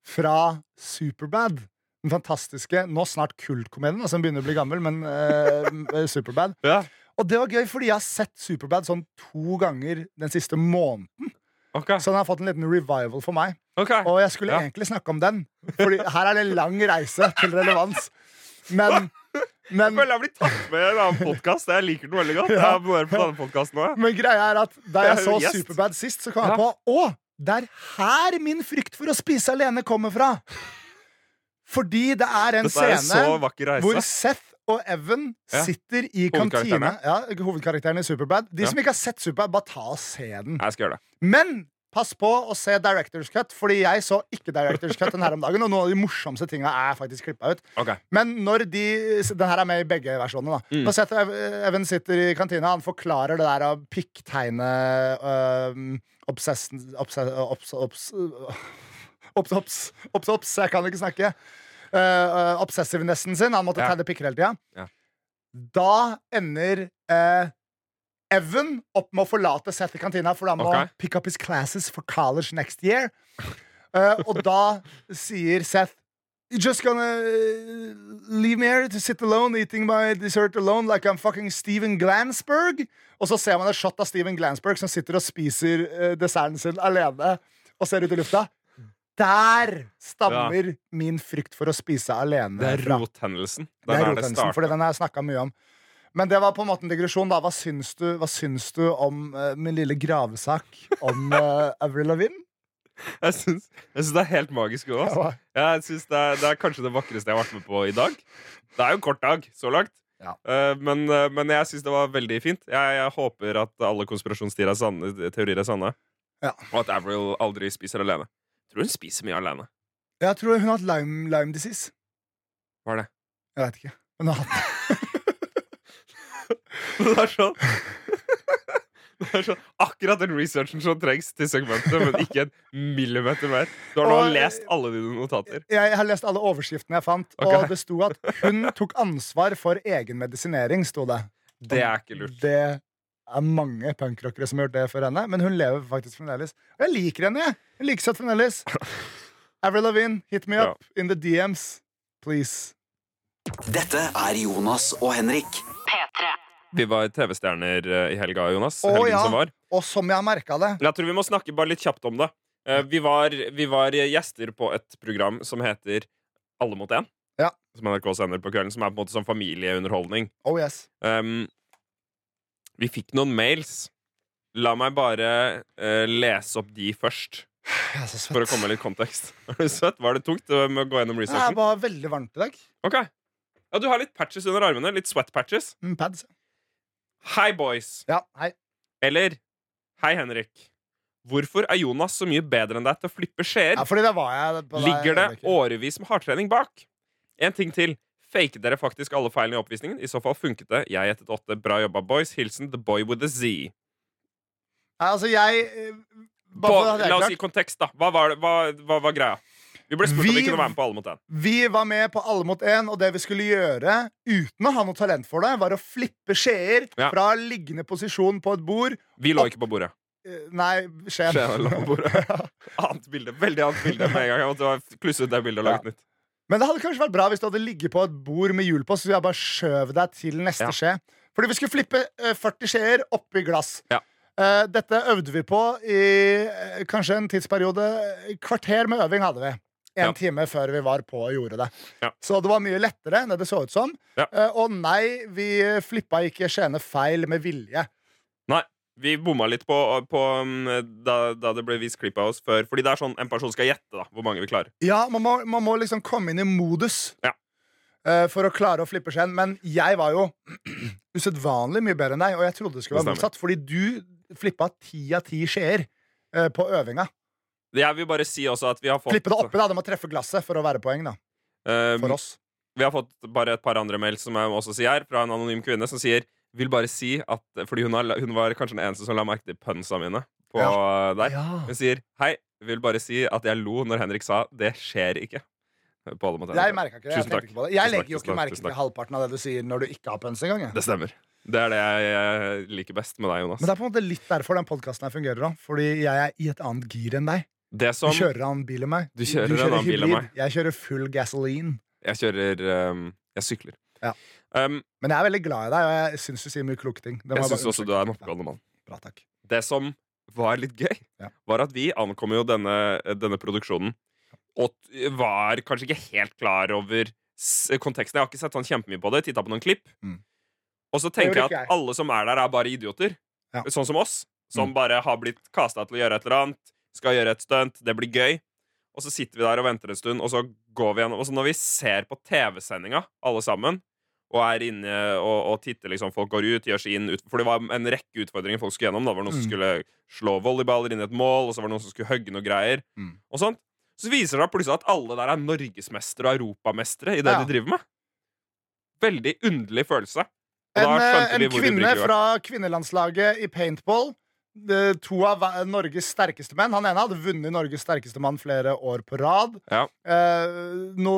fra Superbad. Den fantastiske, nå snart kultkomedien, da, som begynner å bli gammel, men eh, (laughs) Superbad.
Ja.
Og det var gøy, fordi jeg har sett Superbad sånn to ganger den siste måneden.
Ok.
Så den har fått en liten revival for meg.
ok.
Og jeg skulle
Ja.
egentlig snakke om den, Fordi her er det en lang reise til relevans.
(laughs)
Men,
Jeg
men
føler jeg blir tatt med i en annen podkast. Jeg liker den veldig godt. Jeg er bare på denne podcasten nå, jeg.
Men greia er at da
Jeg
jeg
er
så
jo gjest.
Superbad sist, så kom
Ja.
jeg på Å, det er her min frykt for å spise alene kommer fra! Fordi det er en
Dette er en så
scene
vakker
hvor
reise.
Seth og Evan
Ja.
sitter i kantina.
Hovedkarakterene.
Ja, hovedkarakterene i Superbad. De
Ja.
som ikke har sett Superbad, bare ta og se den.
Jeg skal gjøre det.
Men pass på å se Directors Cut, fordi jeg så ikke Directors Cut den her om dagen, og noen av de morsomste tinga er faktisk klippa ut.
Ok.
Men når de Den her er med i begge versjonene. da
Mm.
Når Seth Ev- Even sitter i kantina, han forklarer det der av pikktegne øhm, Obsessen obse, obs, obs, obs, obs, obs, obs, Jeg kan ikke snakke. Øh, øh, obsessivenessen sin. Han måtte
Ja.
tegne pikker hele tida.
Ja.
Da ender eh, Evan opp med å forlate Seth i kantina, for han må
Ok.
pick up his classes for college next year. Eh, og da sier Seth You're just gonna uh, leave me here to sit alone, eating my dessert alone like I'm fucking Steven Glansberg. Og så ser man et shot av Steven Glansberg som sitter og spiser eh, desserten sin alene og ser ut i lufta. Der stammer min frykt for å spise alene
Det er
fra.
rothendelsen. Den
Det er
er det
rothendelsen,
startet.
fordi den har jeg snakka mye om. Men det var på en måte en digresjon. da Hva syns du, hva syns du om eh, min lille gravesak
(laughs)
om eh, Avril Lavigne?
Jeg syns, jeg syns det er helt magisk òg.
Ja, hva?
Jeg synes det, er, det er kanskje det vakreste jeg har vært med på i dag. Det er jo en kort dag så langt,
Ja.
Eh, men, eh, men jeg syns det var veldig fint. Jeg, jeg håper at alle konspirasjonsteorier er sanne, teorier er sanne
Ja.
og at Avril aldri spiser alene. Tror hun spiser mye alene.
Jeg tror hun har hatt Lyme, Lyme disease. (laughs)
Hva er det?
Jeg veit ikke. Men hun har hatt det.
Det er sånn (laughs) Det er sånn Akkurat den researchen som trengs til segmentet, men ikke en millimeter mer. Du har nå
Og-
lest alle dine notater.
Jeg har lest alle overskriftene jeg fant,
Ok.
og det sto at hun tok ansvar for egen medisinering. Sto det.
Det er ikke lurt.
Det er mange punkrockere som har gjort det for henne, men hun lever faktisk fremdeles. Og jeg liker henne, jeg. Jeg liker søtt
(laughs)
fremdeles. Avril Lavigne, hit me
Ja.
up in the DMs, please.
Dette er Jonas og Henrik.
P3.
Vi var TV-stjerner eh, i helga, Jonas.
Å,
helgen
ja.
som var.
Og som jeg har merka det
Men jeg tror vi må snakke bare litt kjapt om det. Eh, Vi var, vi var gjester på et program som heter Alle mot én.
Ja.
Som NRK sender på kvelden, som er på en måte sånn familieunderholdning.
Oh yes.
Um, vi fikk noen mails. La meg bare eh, lese opp de først,
Jeg er så svett.
for å komme med litt kontekst. (laughs) Er du søtt? Var det tungt eh, med å gå gjennom
Det er
researchen?
bare veldig varmt i dag.
Ok. Ja, du har litt patches under armene. Litt sweat patches.
Mm, pads.
Hei, boys.
Ja, hei.
Eller Hei, Henrik. Hvorfor er Jonas så mye bedre enn deg til å flippe skjeer?
Ja, fordi det var jeg på deg,
Ligger det
Henrik.
årevis med hardtrening bak? En ting til. Faket dere faktisk alle feilene i oppvisningen? I så fall funket det. Jeg gjettet åtte. Bra jobba, boys. Hilsen The Boy with the Z.
Nei, altså, jeg eh,
På,
bare for at det er
la oss
klart.
si kontekst, da. Hva var, det, hva, hva var greia? Vi ble spurt om
Vi-
vi kunne være med på Alle mot én.
Vi var med på Alle mot én, og det vi skulle gjøre uten å ha noe talent for det, var å flippe skjeer
Ja.
fra liggende posisjon på et bord
Vi lå ikke på bordet.
Eh, Nei, skjeen.
Skjeen lå på bordet. Annet bilde. Veldig annet bilde med en gang. Jeg måtte klusse ut det bildet og lage et nytt.
(laughs) Men det hadde kanskje vært bra hvis du hadde ligget på et bord med hjul på, så jeg bare skjøv deg til neste
Ja.
skje. Fordi vi skulle flippe eh, 40 skjeer oppi glass.
Ja.
Eh, dette øvde vi på i eh, kanskje en tidsperiode. Kvarter med øving hadde vi. En
Ja.
time før vi var på og gjorde det.
Ja.
Så det var mye lettere enn det det så ut som.
Ja.
Eh, og nei, vi flippa ikke skjeene feil med vilje.
Nei, vi bomma litt på, på um, da, da det ble vist klipp av oss før. Fordi det er sånn en person skal gjette da, hvor mange vi klarer.
Ja, man må, man må liksom komme inn i modus
Ja.
eh, for å klare å flippe skjeen. Men jeg var jo (clears throat) usedvanlig mye bedre enn deg, og jeg trodde det skulle være
Det stemmer.
motsatt. Fordi du flippa ti av ti skjeer eh, på øvinga.
Jeg vil bare si også at vi har fått
Flippe det oppi, da. Det må treffe glasset for å være poeng, da.
Um,
For oss.
Vi har fått bare et par andre mail som jeg også sier her, fra en anonym kvinne som sier Vil bare si at Fordi hun, har, hun var kanskje den eneste som la merke til pønsa mine på der.
Ja.
Hun sier Hei, vil bare si at jeg lo når Henrik sa 'det skjer ikke'. På alle måter.
Jeg merka ikke det. Jeg
Tusen takk.
tenkte ikke på det. Jeg
Tusen
legger
takk,
jo
tusen
ikke
takk,
merke
tusen
til
takk.
halvparten av det du sier når du ikke har pønsk engang. jeg.
Det stemmer. Det er det jeg, jeg liker best med deg, Jonas.
Men det er på en måte litt derfor den podkasten her fungerer òg. Fordi jeg er i et annet gir enn deg.
Det
Du
som
kjører en annen bil enn meg.
Sånn. Du kjører en annen bil enn
hybrid. Jeg kjører full gasoline.
Jeg kjører um, Jeg sykler.
Ja.
Um,
Men jeg er veldig glad i deg, og jeg syns du sier mye kloke ting. Det må bare
jeg syns også
understreke.
du er en oppegående mann.
Bra, takk.
det som var litt gøy,
Ja.
var at vi ankom jo denne, denne produksjonen og t- var kanskje ikke helt klar over s- konteksten. Jeg har ikke sett sånn kjempemye på det. Titta på noen klipp.
Mm.
Og så
Det
tenker
gjorde ikke
jeg
jeg.
at alle som er der, er bare idioter.
Ja. Mm.
Sånn som oss, som bare har blitt kasta til å gjøre et eller annet. Skal gjøre et stunt. Det blir gøy. Og så sitter vi der og venter en stund, og så går vi gjennom Og så når vi ser på TV-sendinga, alle sammen, og er inne og, og titter liksom Folk går ut, gjør seg inn ut, For det var en rekke utfordringer folk skulle gjennom. Da Det var noen som
Mm.
skulle slå volleyballer inn i et mål, og så var det noen som skulle hogge noe greier.
Mm.
Og sånt Så viser det seg plutselig at alle der er norgesmestere og europamestere i det
Ja.
de driver med. Veldig underlig følelse. Og
En,
da
eh,
skjønte
en
vi hvor
kvinne
ubrukelig vi var.
fra kvinnelandslaget i paintball. De, to av hver- Norges sterkeste menn. Han ene hadde vunnet Norges sterkeste mann flere år på rad.
Ja.
Eh, no,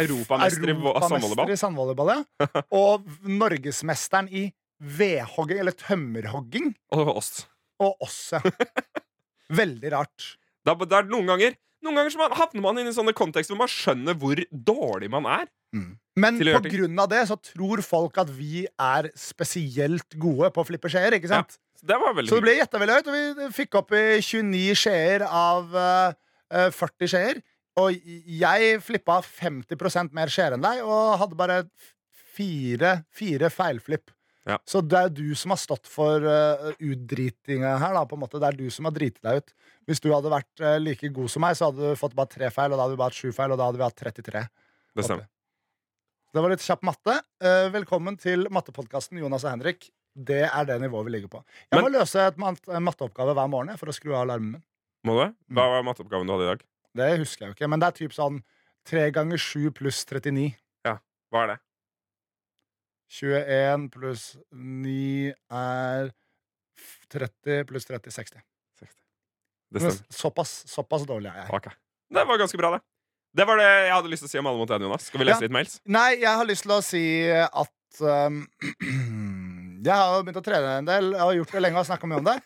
Europamester i vo-
europamester i sandvolleyball.
(laughs)
Ja. Og norgesmesteren i vedhogging, eller tømmerhogging,
Og det var oss.
og oss.
(laughs)
ja. Veldig rart.
Da, da er det noen ganger Noen ganger så man, havner man inn i sånne kontekster hvor man skjønner hvor dårlig man er.
Men
Til å gjøre
på
ting.
grunn av det så tror folk at vi er spesielt gode på å flippe skjeer, ikke sant?
Så det var veldig
Så det ble gjetta veldig høyt, og vi fikk opp i 29 skjeer av eh, eh, 40 skjeer. Og jeg flippa 50 mer skjeer enn deg, og hadde bare fire, fire feilflipp.
Ja.
Så det er du som har stått for eh, utdritinga her. Da, på en måte. Det er du som har driti deg ut. Hvis du hadde vært eh, like god som meg, så hadde du fått bare tre feil, og da hadde vi bare hatt sju feil, og da hadde vi hatt 33.
Det stemmer.
Det var litt kjapp matte. Eh, Velkommen til mattepodkasten Jonas og Henrik. Det er det nivået vi ligger på. Jeg
Men-
må løse et mat en matteoppgave hver morgen jeg, for å skru av alarmen min.
Må du? Hva var matteoppgaven du hadde i dag?
Det husker jeg jo ikke, men det er typ sånn 3 ganger 7 pluss 39.
Hva er det?
21 pluss 9 er f- 30 pluss 30 60.
Det
Men
stemmer.
såpass, såpass dårlig er jeg.
Ok. Det var ganske bra, det. Det var det jeg hadde lyst til å si om alle mot en, Jonas. Skal vi lese
Ja.
litt mails?
Nei, jeg har lyst til å si at um, (clears throat) Jeg har jo begynt å trene en del. Jeg har gjort det lenge og har snakka mye om det.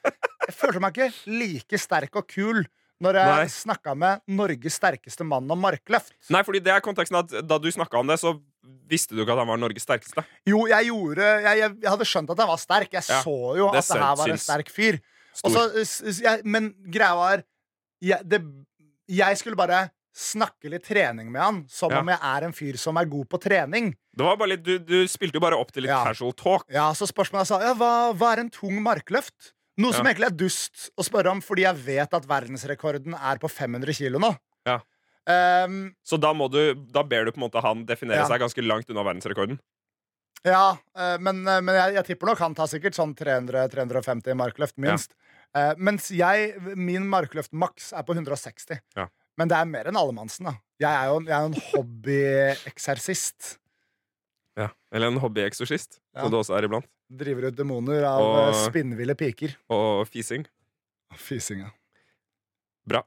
Jeg følte meg ikke like sterk og kul når
Nei.
jeg snakka med Norges sterkeste mann om markløft.
Nei, fordi det er konteksten at da du snakka om det, så visste du ikke at han var Norges sterkeste.
Jo, jeg gjorde Jeg, jeg, jeg hadde skjønt at jeg var sterk. Jeg
Ja,
så jo
det
at det her var en
syns.
sterk fyr. Og
Stor.
så, s- s- jeg, men greia var jeg, det, jeg skulle bare snakke litt trening med han, som
Ja.
om jeg er en fyr som er god på trening.
Det var bare litt, du, du spilte jo bare opp til litt
Ja.
casual talk.
Ja, så spørsmålet jeg sa ja, hva, hva er en tung markløft? Noe som
Ja.
egentlig er dust å spørre om, fordi jeg vet at verdensrekorden er på 500 kilo nå.
Ja.
Ehm,
Så da, må du, da ber du på en måte han definere
Ja.
seg ganske langt unna verdensrekorden.
ja eh, men, eh, men jeg, jeg tipper nok han tar sikkert sånn 300-350 markløft, minst. Eh, mens jeg, min markløft maks er på 160.
Ja.
Men det er mer enn allemannsen, da. Jeg er jo, jeg er jo en
(laughs)
hobbyeksert.
Eller en hobbyeksorsist,
Ja.
som du også er iblant.
Driver ut demoner av
Og-
eh, spinnville piker.
Og fising.
Fysinga.
Bra.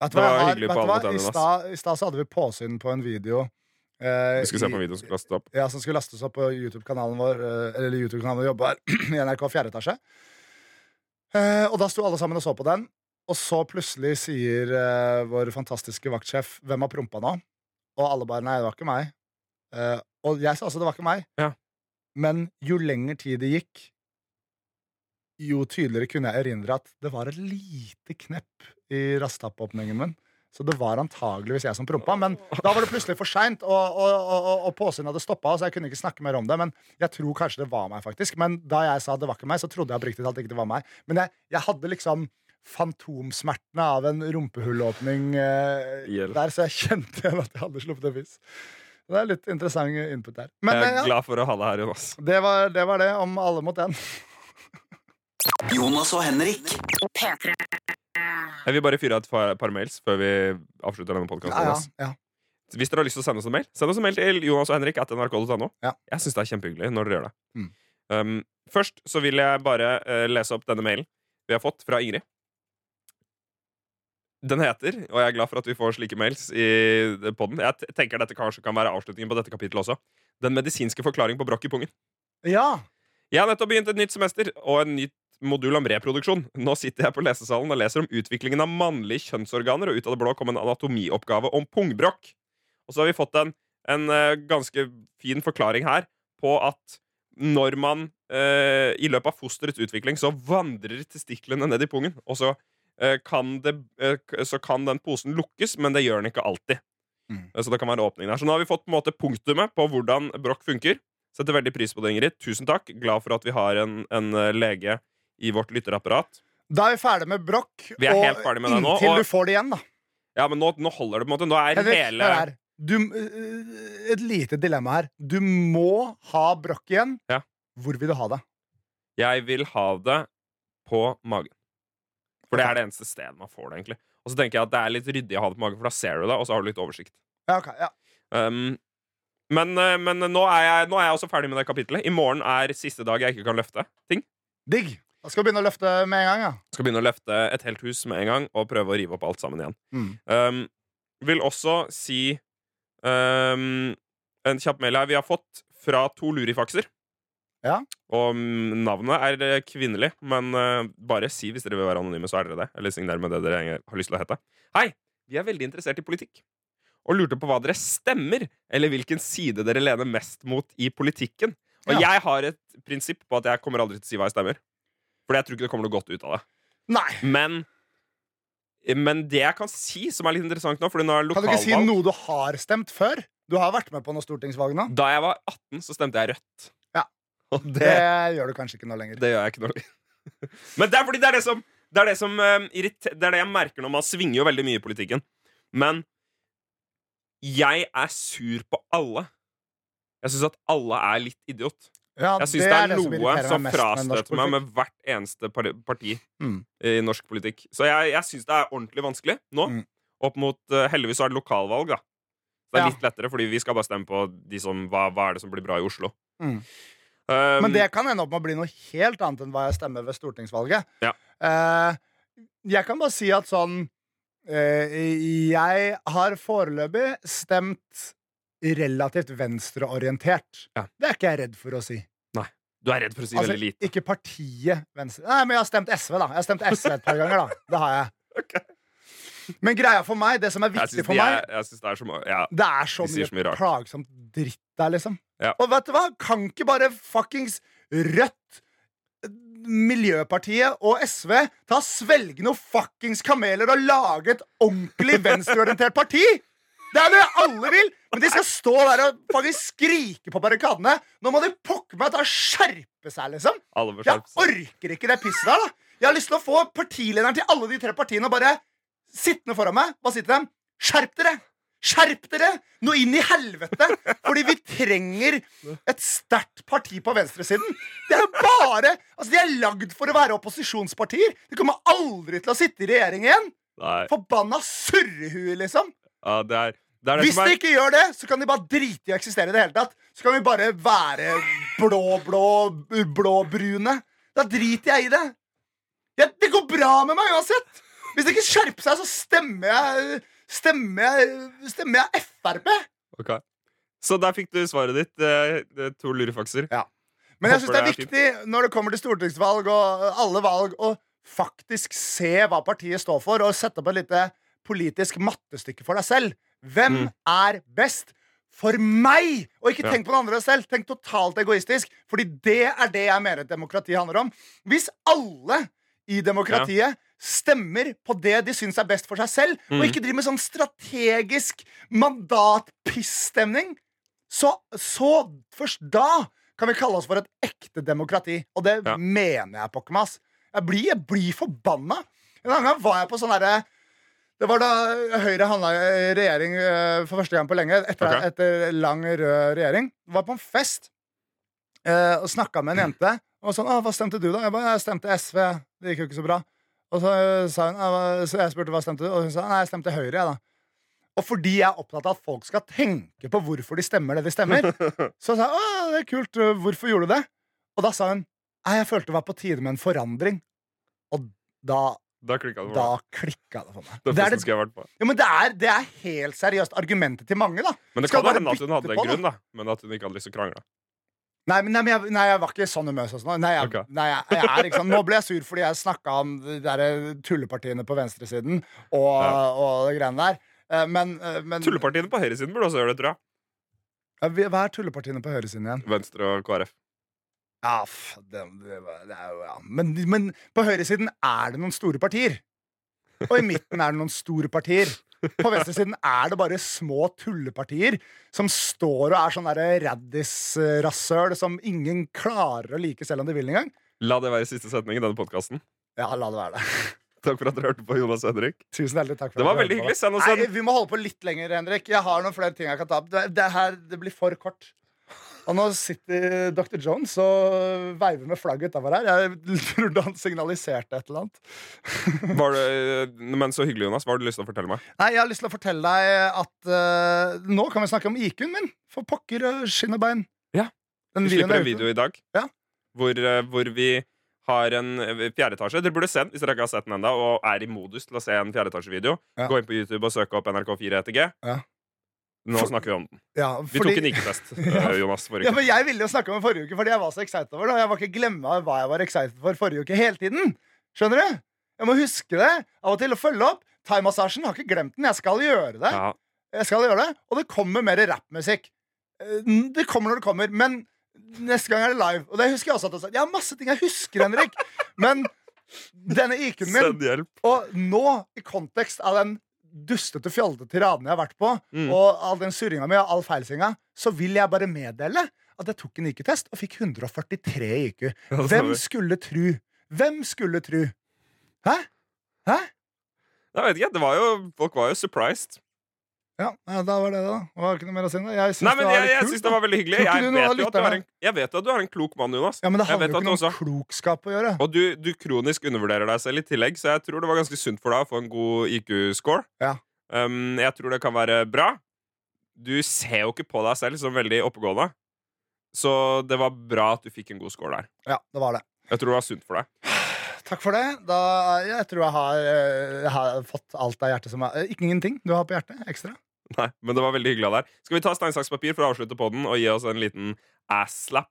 Vet du
Det
hva,
var
jeg har-
hyggelig
vet
på
du
alle
hva?
måter,
I
Jonas.
stad- I stad så hadde vi påsyn på en video. eh,
Vi skulle se på
i-
videoen som skulle lastes opp.
Ja, som skulle lastes opp på YouTube-kanalen vår eh, Eller YouTube-kanalen vi jobber her (clears throat) i NRK 4 etasje. Eh, og da sto alle sammen og så på den. Og så plutselig sier eh, vår fantastiske vaktsjef 'Hvem har prompa nå?' Og alle bare 'Nei, det var ikke meg'. Eh, og jeg sa også 'Det var ikke meg'.
Ja.
Men jo lenger tid det gikk, jo tydeligere kunne jeg erindre at det var et lite knepp i rastappåpningen min. Så det var antageligvis jeg som prompa, men da var det plutselig for seint. Og, og, og, og- og påsyn hadde stoppa, så jeg kunne ikke snakke mer om det. Men jeg tror kanskje det var meg, faktisk. Men da jeg sa det var ikke meg, så trodde jeg oppriktig talt ikke det var meg. Men jeg, jeg hadde liksom fantomsmertene av en rumpehullåpning eh,
Hjelp.
der, så jeg kjente (laughs) igjen at jeg hadde sluppet en fiss. Det er litt interessant input der. Men
Jeg er
eh, ja,
glad for å ha deg her, Jonas.
det var, det var det om alle mot én.
Jonas og Henrik.
Jeg vil bare fyre av et par, par mails før vi avslutter denne podkasten.
Ja, ja, ja.
Hvis dere har lyst til å sende oss en mail, send oss en mail til Jonas og Henrik at nrk.no.
Ja.
Jeg syns det er kjempehyggelig når dere gjør det.
Mm.
Um, først så vil jeg bare eh, lese opp denne mailen vi har fått fra Ingrid. Den heter, og jeg er glad for at vi får slike mails i podden Jeg t- tenker dette kanskje kan være avslutningen på dette kapittelet også. Den medisinske forklaring på brokk i pungen.
ja.
Jeg har nettopp begynt et nytt semester og en nytt modul om reproduksjon. Nå sitter jeg på lesesalen og leser om utviklingen av mannlige kjønnsorganer, og ut av det blå kom en anatomioppgave om pungbrokk. Og så har vi fått en, en eh, ganske fin forklaring her på at når man eh, i løpet av fosterets utvikling så vandrer testiklene ned i pungen, og så, eh, kan det, eh, k- så kan den posen lukkes, men det gjør den ikke alltid.
Mm.
Eh, Så det kan være åpning der. Så nå har vi fått på en måte punktumet på hvordan brokk funker. Setter veldig pris på det, Ingrid. Tusen takk. Glad for at vi har en, en eh, lege i vårt lytterapparat.
Da er vi ferdig med brokk.
Vi er
og
helt ferdig med det nå,
Inntil
og-
du får det igjen, da.
Ja, men nå, nå holder det, på en måte. Nå er
Henrik,
hele
hør her. Du, øh, et lite dilemma her. Du må ha brokk igjen.
Ja.
Hvor vil du ha det?
Jeg vil ha det på magen. For det er det eneste stedet man får det, egentlig. Og så tenker jeg at det er litt ryddig å ha det på magen, for da ser du det, og så har du litt oversikt.
Ja, ok, ja.
Um, men eh, men nå, er jeg, nå er jeg også ferdig med det kapitlet. I morgen er siste dag jeg ikke kan løfte ting.
Digg. Da skal vi begynne å løfte med en gang. Ja.
Skal begynne å løfte et helt hus med en gang og prøve å rive opp alt sammen igjen.
Mm.
Um, vil også si um, en kjapp mail her. Vi har fått fra to lurifakser.
Ja.
Og mm, navnet er eh, kvinnelig, men eh, bare si hvis dere vil være anonyme, så er dere det. Eller signer med det dere har lyst til å hete. Hei! Vi er veldig interessert i politikk. Og lurte på hva dere stemmer, eller hvilken side dere lener mest mot i politikken. Og
Ja.
jeg har et prinsipp på at jeg kommer aldri til å si hva jeg stemmer. For jeg tror ikke det kommer noe godt ut av det.
Nei.
Men men det jeg kan si, som er litt interessant nå fordi nå er det
Kan du ikke si
lokalvalg.
noe du har stemt før? Du har vært med på noen stortingsvalg nå.
Da jeg var 18, så stemte jeg rødt.
Ja.
Og
Det
det,
gjør du kanskje ikke nå lenger.
det gjør jeg ikke noe (laughs) Men det er fordi det er det som, det er det, som eh, irrite- det er det jeg merker når man svinger jo veldig mye i politikken. Men jeg er sur på alle. Jeg syns at alle er litt idiot.
Ja,
Jeg syns det er,
som
noe
irriterer
som
meg mest med norsk
frastøter meg
politikk.
med hvert eneste par- parti
Mm.
i norsk politikk. Så jeg, jeg syns det er ordentlig vanskelig nå.
Mm.
Opp mot eh, Heldigvis så er det lokalvalg, da. Så det er
Ja.
litt lettere, fordi vi skal bare stemme på de som, hva, hva er det som blir bra i Oslo.
Mm.
Um,
Men det kan ende opp med å bli noe helt annet enn hva jeg stemmer ved stortingsvalget.
Ja.
Eh, jeg kan bare si at sånn eh, Jeg har foreløpig stemt relativt venstreorientert.
Ja.
Det er ikke jeg redd for å si.
Du er redd for å si
Altså,
veldig lite.
ikke partiet Venstre. Nei, men jeg har stemt SV, da. Jeg har stemt SV et par ganger, da. Det har jeg.
(laughs) Ok.
Men greia for meg, det som er
Jeg
viktig
syns
for
de
meg
er- jeg syns det er så mye ja.
Det er så
De sier
mye,
så mye rart.
plagsomt dritt der, liksom.
Ja.
Og vet du hva? Kan ikke bare fuckings Rødt, Miljøpartiet og SV ta og svelge noen fuckings kameler og lage et ordentlig venstreorientert parti? Det er det alle vil! Men de skal stå der og faktisk skrike på barrikadene. Nå må de pokker meg ta og skjerpe seg, liksom.
Alle bør
Jeg
skjerpe seg.
orker ikke det pisset der, da. Jeg har lyst til å få partilederen til alle de tre partiene og bare sittende foran meg. Bare si til dem Skjerp dere! Skjerp dere! Nå inn i helvete! Fordi vi trenger et sterkt parti på venstresiden. Det er bare Altså, de er lagd for å være opposisjonspartier. De kommer aldri til å sitte i regjering igjen.
Nei.
Forbanna surrehue, liksom.
Ja, det er det, er det
Hvis
som er
de ikke gjør det, så kan de bare drite i å eksistere i det hele tatt. Så kan vi bare være blå-blå, blå-brune. Da driter jeg i det. Jeg, det går bra med meg uansett. Hvis de ikke skjerper seg, så stemmer jeg Stemmer jeg, stemmer jeg Frp.
Ok. Så der fikk du svaret ditt. eh, det er to lurefakser.
Men jeg syns det er
Håper det
viktig når det kommer til stortingsvalg og eh, alle valg, å faktisk se hva partiet står for, og sette opp et lite politisk mattestykke for deg selv. Hvem
Mm.
er best for meg? Og ikke
Ja.
tenk på den andre selv. Tenk totalt egoistisk, fordi det er det jeg mener et demokrati handler om. Hvis alle i demokratiet stemmer på det de syns er best for seg selv,
Mm.
og ikke driver med sånn strategisk mandatpissstemning, så, så først da kan vi kalle oss for et ekte demokrati. Og det
Ja.
mener jeg, pokker meg. ass. Jeg blir, jeg blir forbanna. En annen gang var jeg på sånn derre det var da Høyre handla i regjering eh, for første gang på lenge. Etter,
Ok.
etter lang rød regjering. Var på en fest eh, og snakka med en jente. Og sånn, «Å, 'Hva stemte du, da?' Jeg bare, jeg stemte SV. Det gikk jo ikke så bra. Og så, eh, sa hun, «Ja, hva- så jeg spurte hva stemte du, og hun sa nei, jeg stemte Høyre. jeg da Og fordi jeg er opptatt av at folk skal tenke på hvorfor de stemmer det de
(laughs)
stemmer, så sa jeg 'Å, det er kult. øh, Hvorfor gjorde du det?' Og da sa hun 'Nei, jeg følte det var på tide med en forandring'. Og da
Da klikka det for
da
meg.
klikka det for meg.
Det
Det er
første
det
skulle jeg vært på.
ja, men det er, det er helt seriøst argumentet til mange, da.
Men det
Skal
kan
bare
hende at hun
bytte
hadde en
på, da.
grunn, da. Men at hun ikke hadde lyst til å krangle.
Nei, men, nei, men jeg, nei, jeg var ikke i sånn humør. sånn som nå. Nei, jeg,
Ok.
nei, jeg, jeg er ikke sånn. Nå ble jeg sur fordi jeg snakka om de der øh, tullepartiene på venstresiden og,
Ja.
og de greiene der. Eh, Men, eh, men
Tullepartiene på høyresiden burde også gjøre det, tror jeg.
Ja, vi- Hva er tullepartiene på høyresiden igjen?
Venstre og KrF.
Ja, f, det, det, var- det er jo ja. men, men på høyresiden er det noen store partier. Og i midten er det noen store partier. På venstresiden er det bare små tullepartier som står og er sånn derre raddis-rasøl som ingen klarer å like selv om de vil engang.
La det være siste setning i denne podkasten.
Ja, la det være det.
Takk for at dere hørte på, Jonas og Henrik.
Tusen hjertelig takk for
Det
at
var
du
veldig
hørte på.
hyggelig. Send oss
Nei,
en
vi må holde på litt lenger, Henrik. Jeg har noen flere ting jeg kan ta opp. Det, det her det blir for kort. Og nå sitter Dr. Jones og veiver med flagget utafor her. Jeg trodde han signaliserte et eller annet. (laughs)
var det, eh, Men så hyggelig, Jonas. Hva har du lyst til å fortelle meg?
Nei, jeg har lyst til å fortelle deg at eh, nå kan vi snakke om IQ-en min. For pokker og skinn og bein.
Ja.
Den
Vi
videoen
slipper
er
en
ute.
video i dag
Ja.
hvor, eh, hvor vi har en eh, fjerde etasje. Dere burde se den hvis dere ikke har sett den ennå og er i modus til å se en fjerde etasje-video.
Ja.
Gå inn på YouTube og søk opp NRK4 etter G.
Ja.
Nå
For-
snakker vi om den.
Ja,
Vi
fordi-
tok en
(laughs)
IQ-test,
Ja.
eh, Jonas. forrige
Ja,
uke.
men Jeg ville jo snakke om den forrige uke fordi jeg var så excited over det. Og jeg var ikke glemma hva jeg var excited for forrige uke hele tiden. Skjønner du? Jeg må huske det av og til å følge opp. Thaimassasjen har ikke glemt den. Jeg skal gjøre det.
Ja.
Jeg skal gjøre det. Og det kommer mer rappmusikk. Eh, Det kommer når det kommer, men neste gang er det live. Og det husker jeg også at jeg sa. Jeg har masse ting jeg husker, Henrik. Men denne IQ-en min
Send hjelp.
og nå, i kontekst av den dustete, fjollete tiraden jeg har vært på,
Mm.
og all den surringa mi og all feilsinga, så vil jeg bare meddele at jeg tok en IQ-test og fikk 143 i IQ.
Ja, det
Hvem
stemmer.
skulle tru? Hvem skulle tru? Hæ? Hæ?
Jeg vet ikke, det var jo, Folk var jo surprised.
Ja, ja, da var det det, da. Det var ikke noe mer å si. nå. Jeg syns
Nei,
det
men
var
jeg,
litt
jeg
kult,
syns
da.
det var veldig hyggelig.
Tror ikke
Jeg
du noen av
vet, jo at du
lytterne-
er en, jeg vet at du er en klok mann, Jonas.
Ja, men det
Jeg
handler
vet
jo
at
ikke
du
noe
også
om klokskap å gjøre.
Og du, du kronisk undervurderer deg selv i tillegg, så jeg tror det var ganske sunt for deg å få en god IQ-score.
Ja.
Um, jeg tror det kan være bra. Du ser jo ikke på deg selv som veldig oppegående, så det var bra at du fikk en god score der.
Ja, det var det.
Jeg tror det var sunt for deg. (laughs)
Takk for det. Da, jeg tror jeg har, eh, jeg har fått alt av hjertet som er eh, Ikke ingenting du har på hjertet ekstra.
Nei, men det var veldig hyggelig av deg. Skal vi ta stein, saks, papir for å avslutte podden og gi oss en liten ass-slap?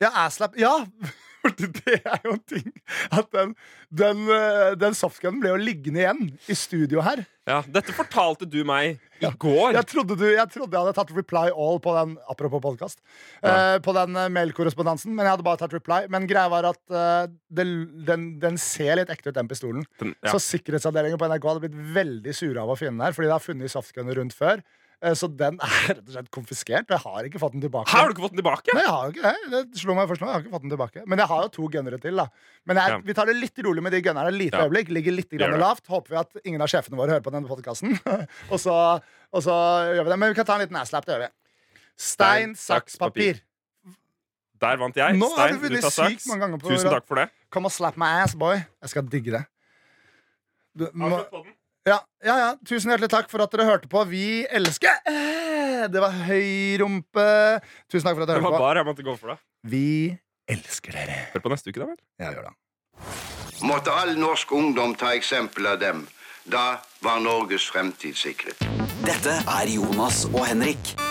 Ja, asslap. Ja! (laughs) Fordi det er jo en ting at den, den, eh, den softgunen ble jo liggende igjen i studio her.
Ja, dette fortalte du meg i
Ja.
går.
Jeg trodde, du, jeg trodde jeg hadde tatt reply all på den Apropos podcast
Ja.
eh, På den eh, mailkorrespondansen Men jeg hadde bare tatt reply Men greia var at eh, det, den, den ser litt ekte ut den pistolen
Den- ja.
Så sikkerhetsavdelingen på NRK hadde blitt veldig sure av å finne den her Fordi det har funnet softgunner rundt før Eh, Så den er rett og slett konfiskert og Jeg har ikke fått den tilbake
Her har du ikke fått den tilbake!
Nei, jeg har jo ikke det. Det slo meg først nå. Jeg har ikke fått den tilbake. Men jeg har jo to gunnere til, da. Men jeg,
Ja.
vi tar det litt rolig med de gunnerne. et Lite
Ja.
øyeblikk. Ligger litt grann
Gjør det.
lavt. Håper vi at ingen av sjefene våre hører på denne podkasten. (laughs) og, så, og så gjør vi det. Men vi kan ta en liten asslap. Det gjør vi. Stein, saks, papir.
Der vant jeg.
Nå har
Stein,
du
du
vunnet
tar
sykt
saks.
mange ganger på
Tusen
rad.
takk for det.
Kom og slap my ass, boy. Jeg skal digge det. Du, må,
Avslutt podden.
ja, ja, ja. Tusen hjertelig takk for at dere hørte på. Vi elsker Eh, Det var høy rumpe. Tusen takk for at
Det
dere
var
hørte på.
bar jeg måtte gå for det.
Vi elsker dere.
Hør på neste uke, da vel.
Jeg gjør det.
Måtte all norsk ungdom ta eksempel av dem. Da var Norges fremtid sikret.
Dette er Jonas og Henrik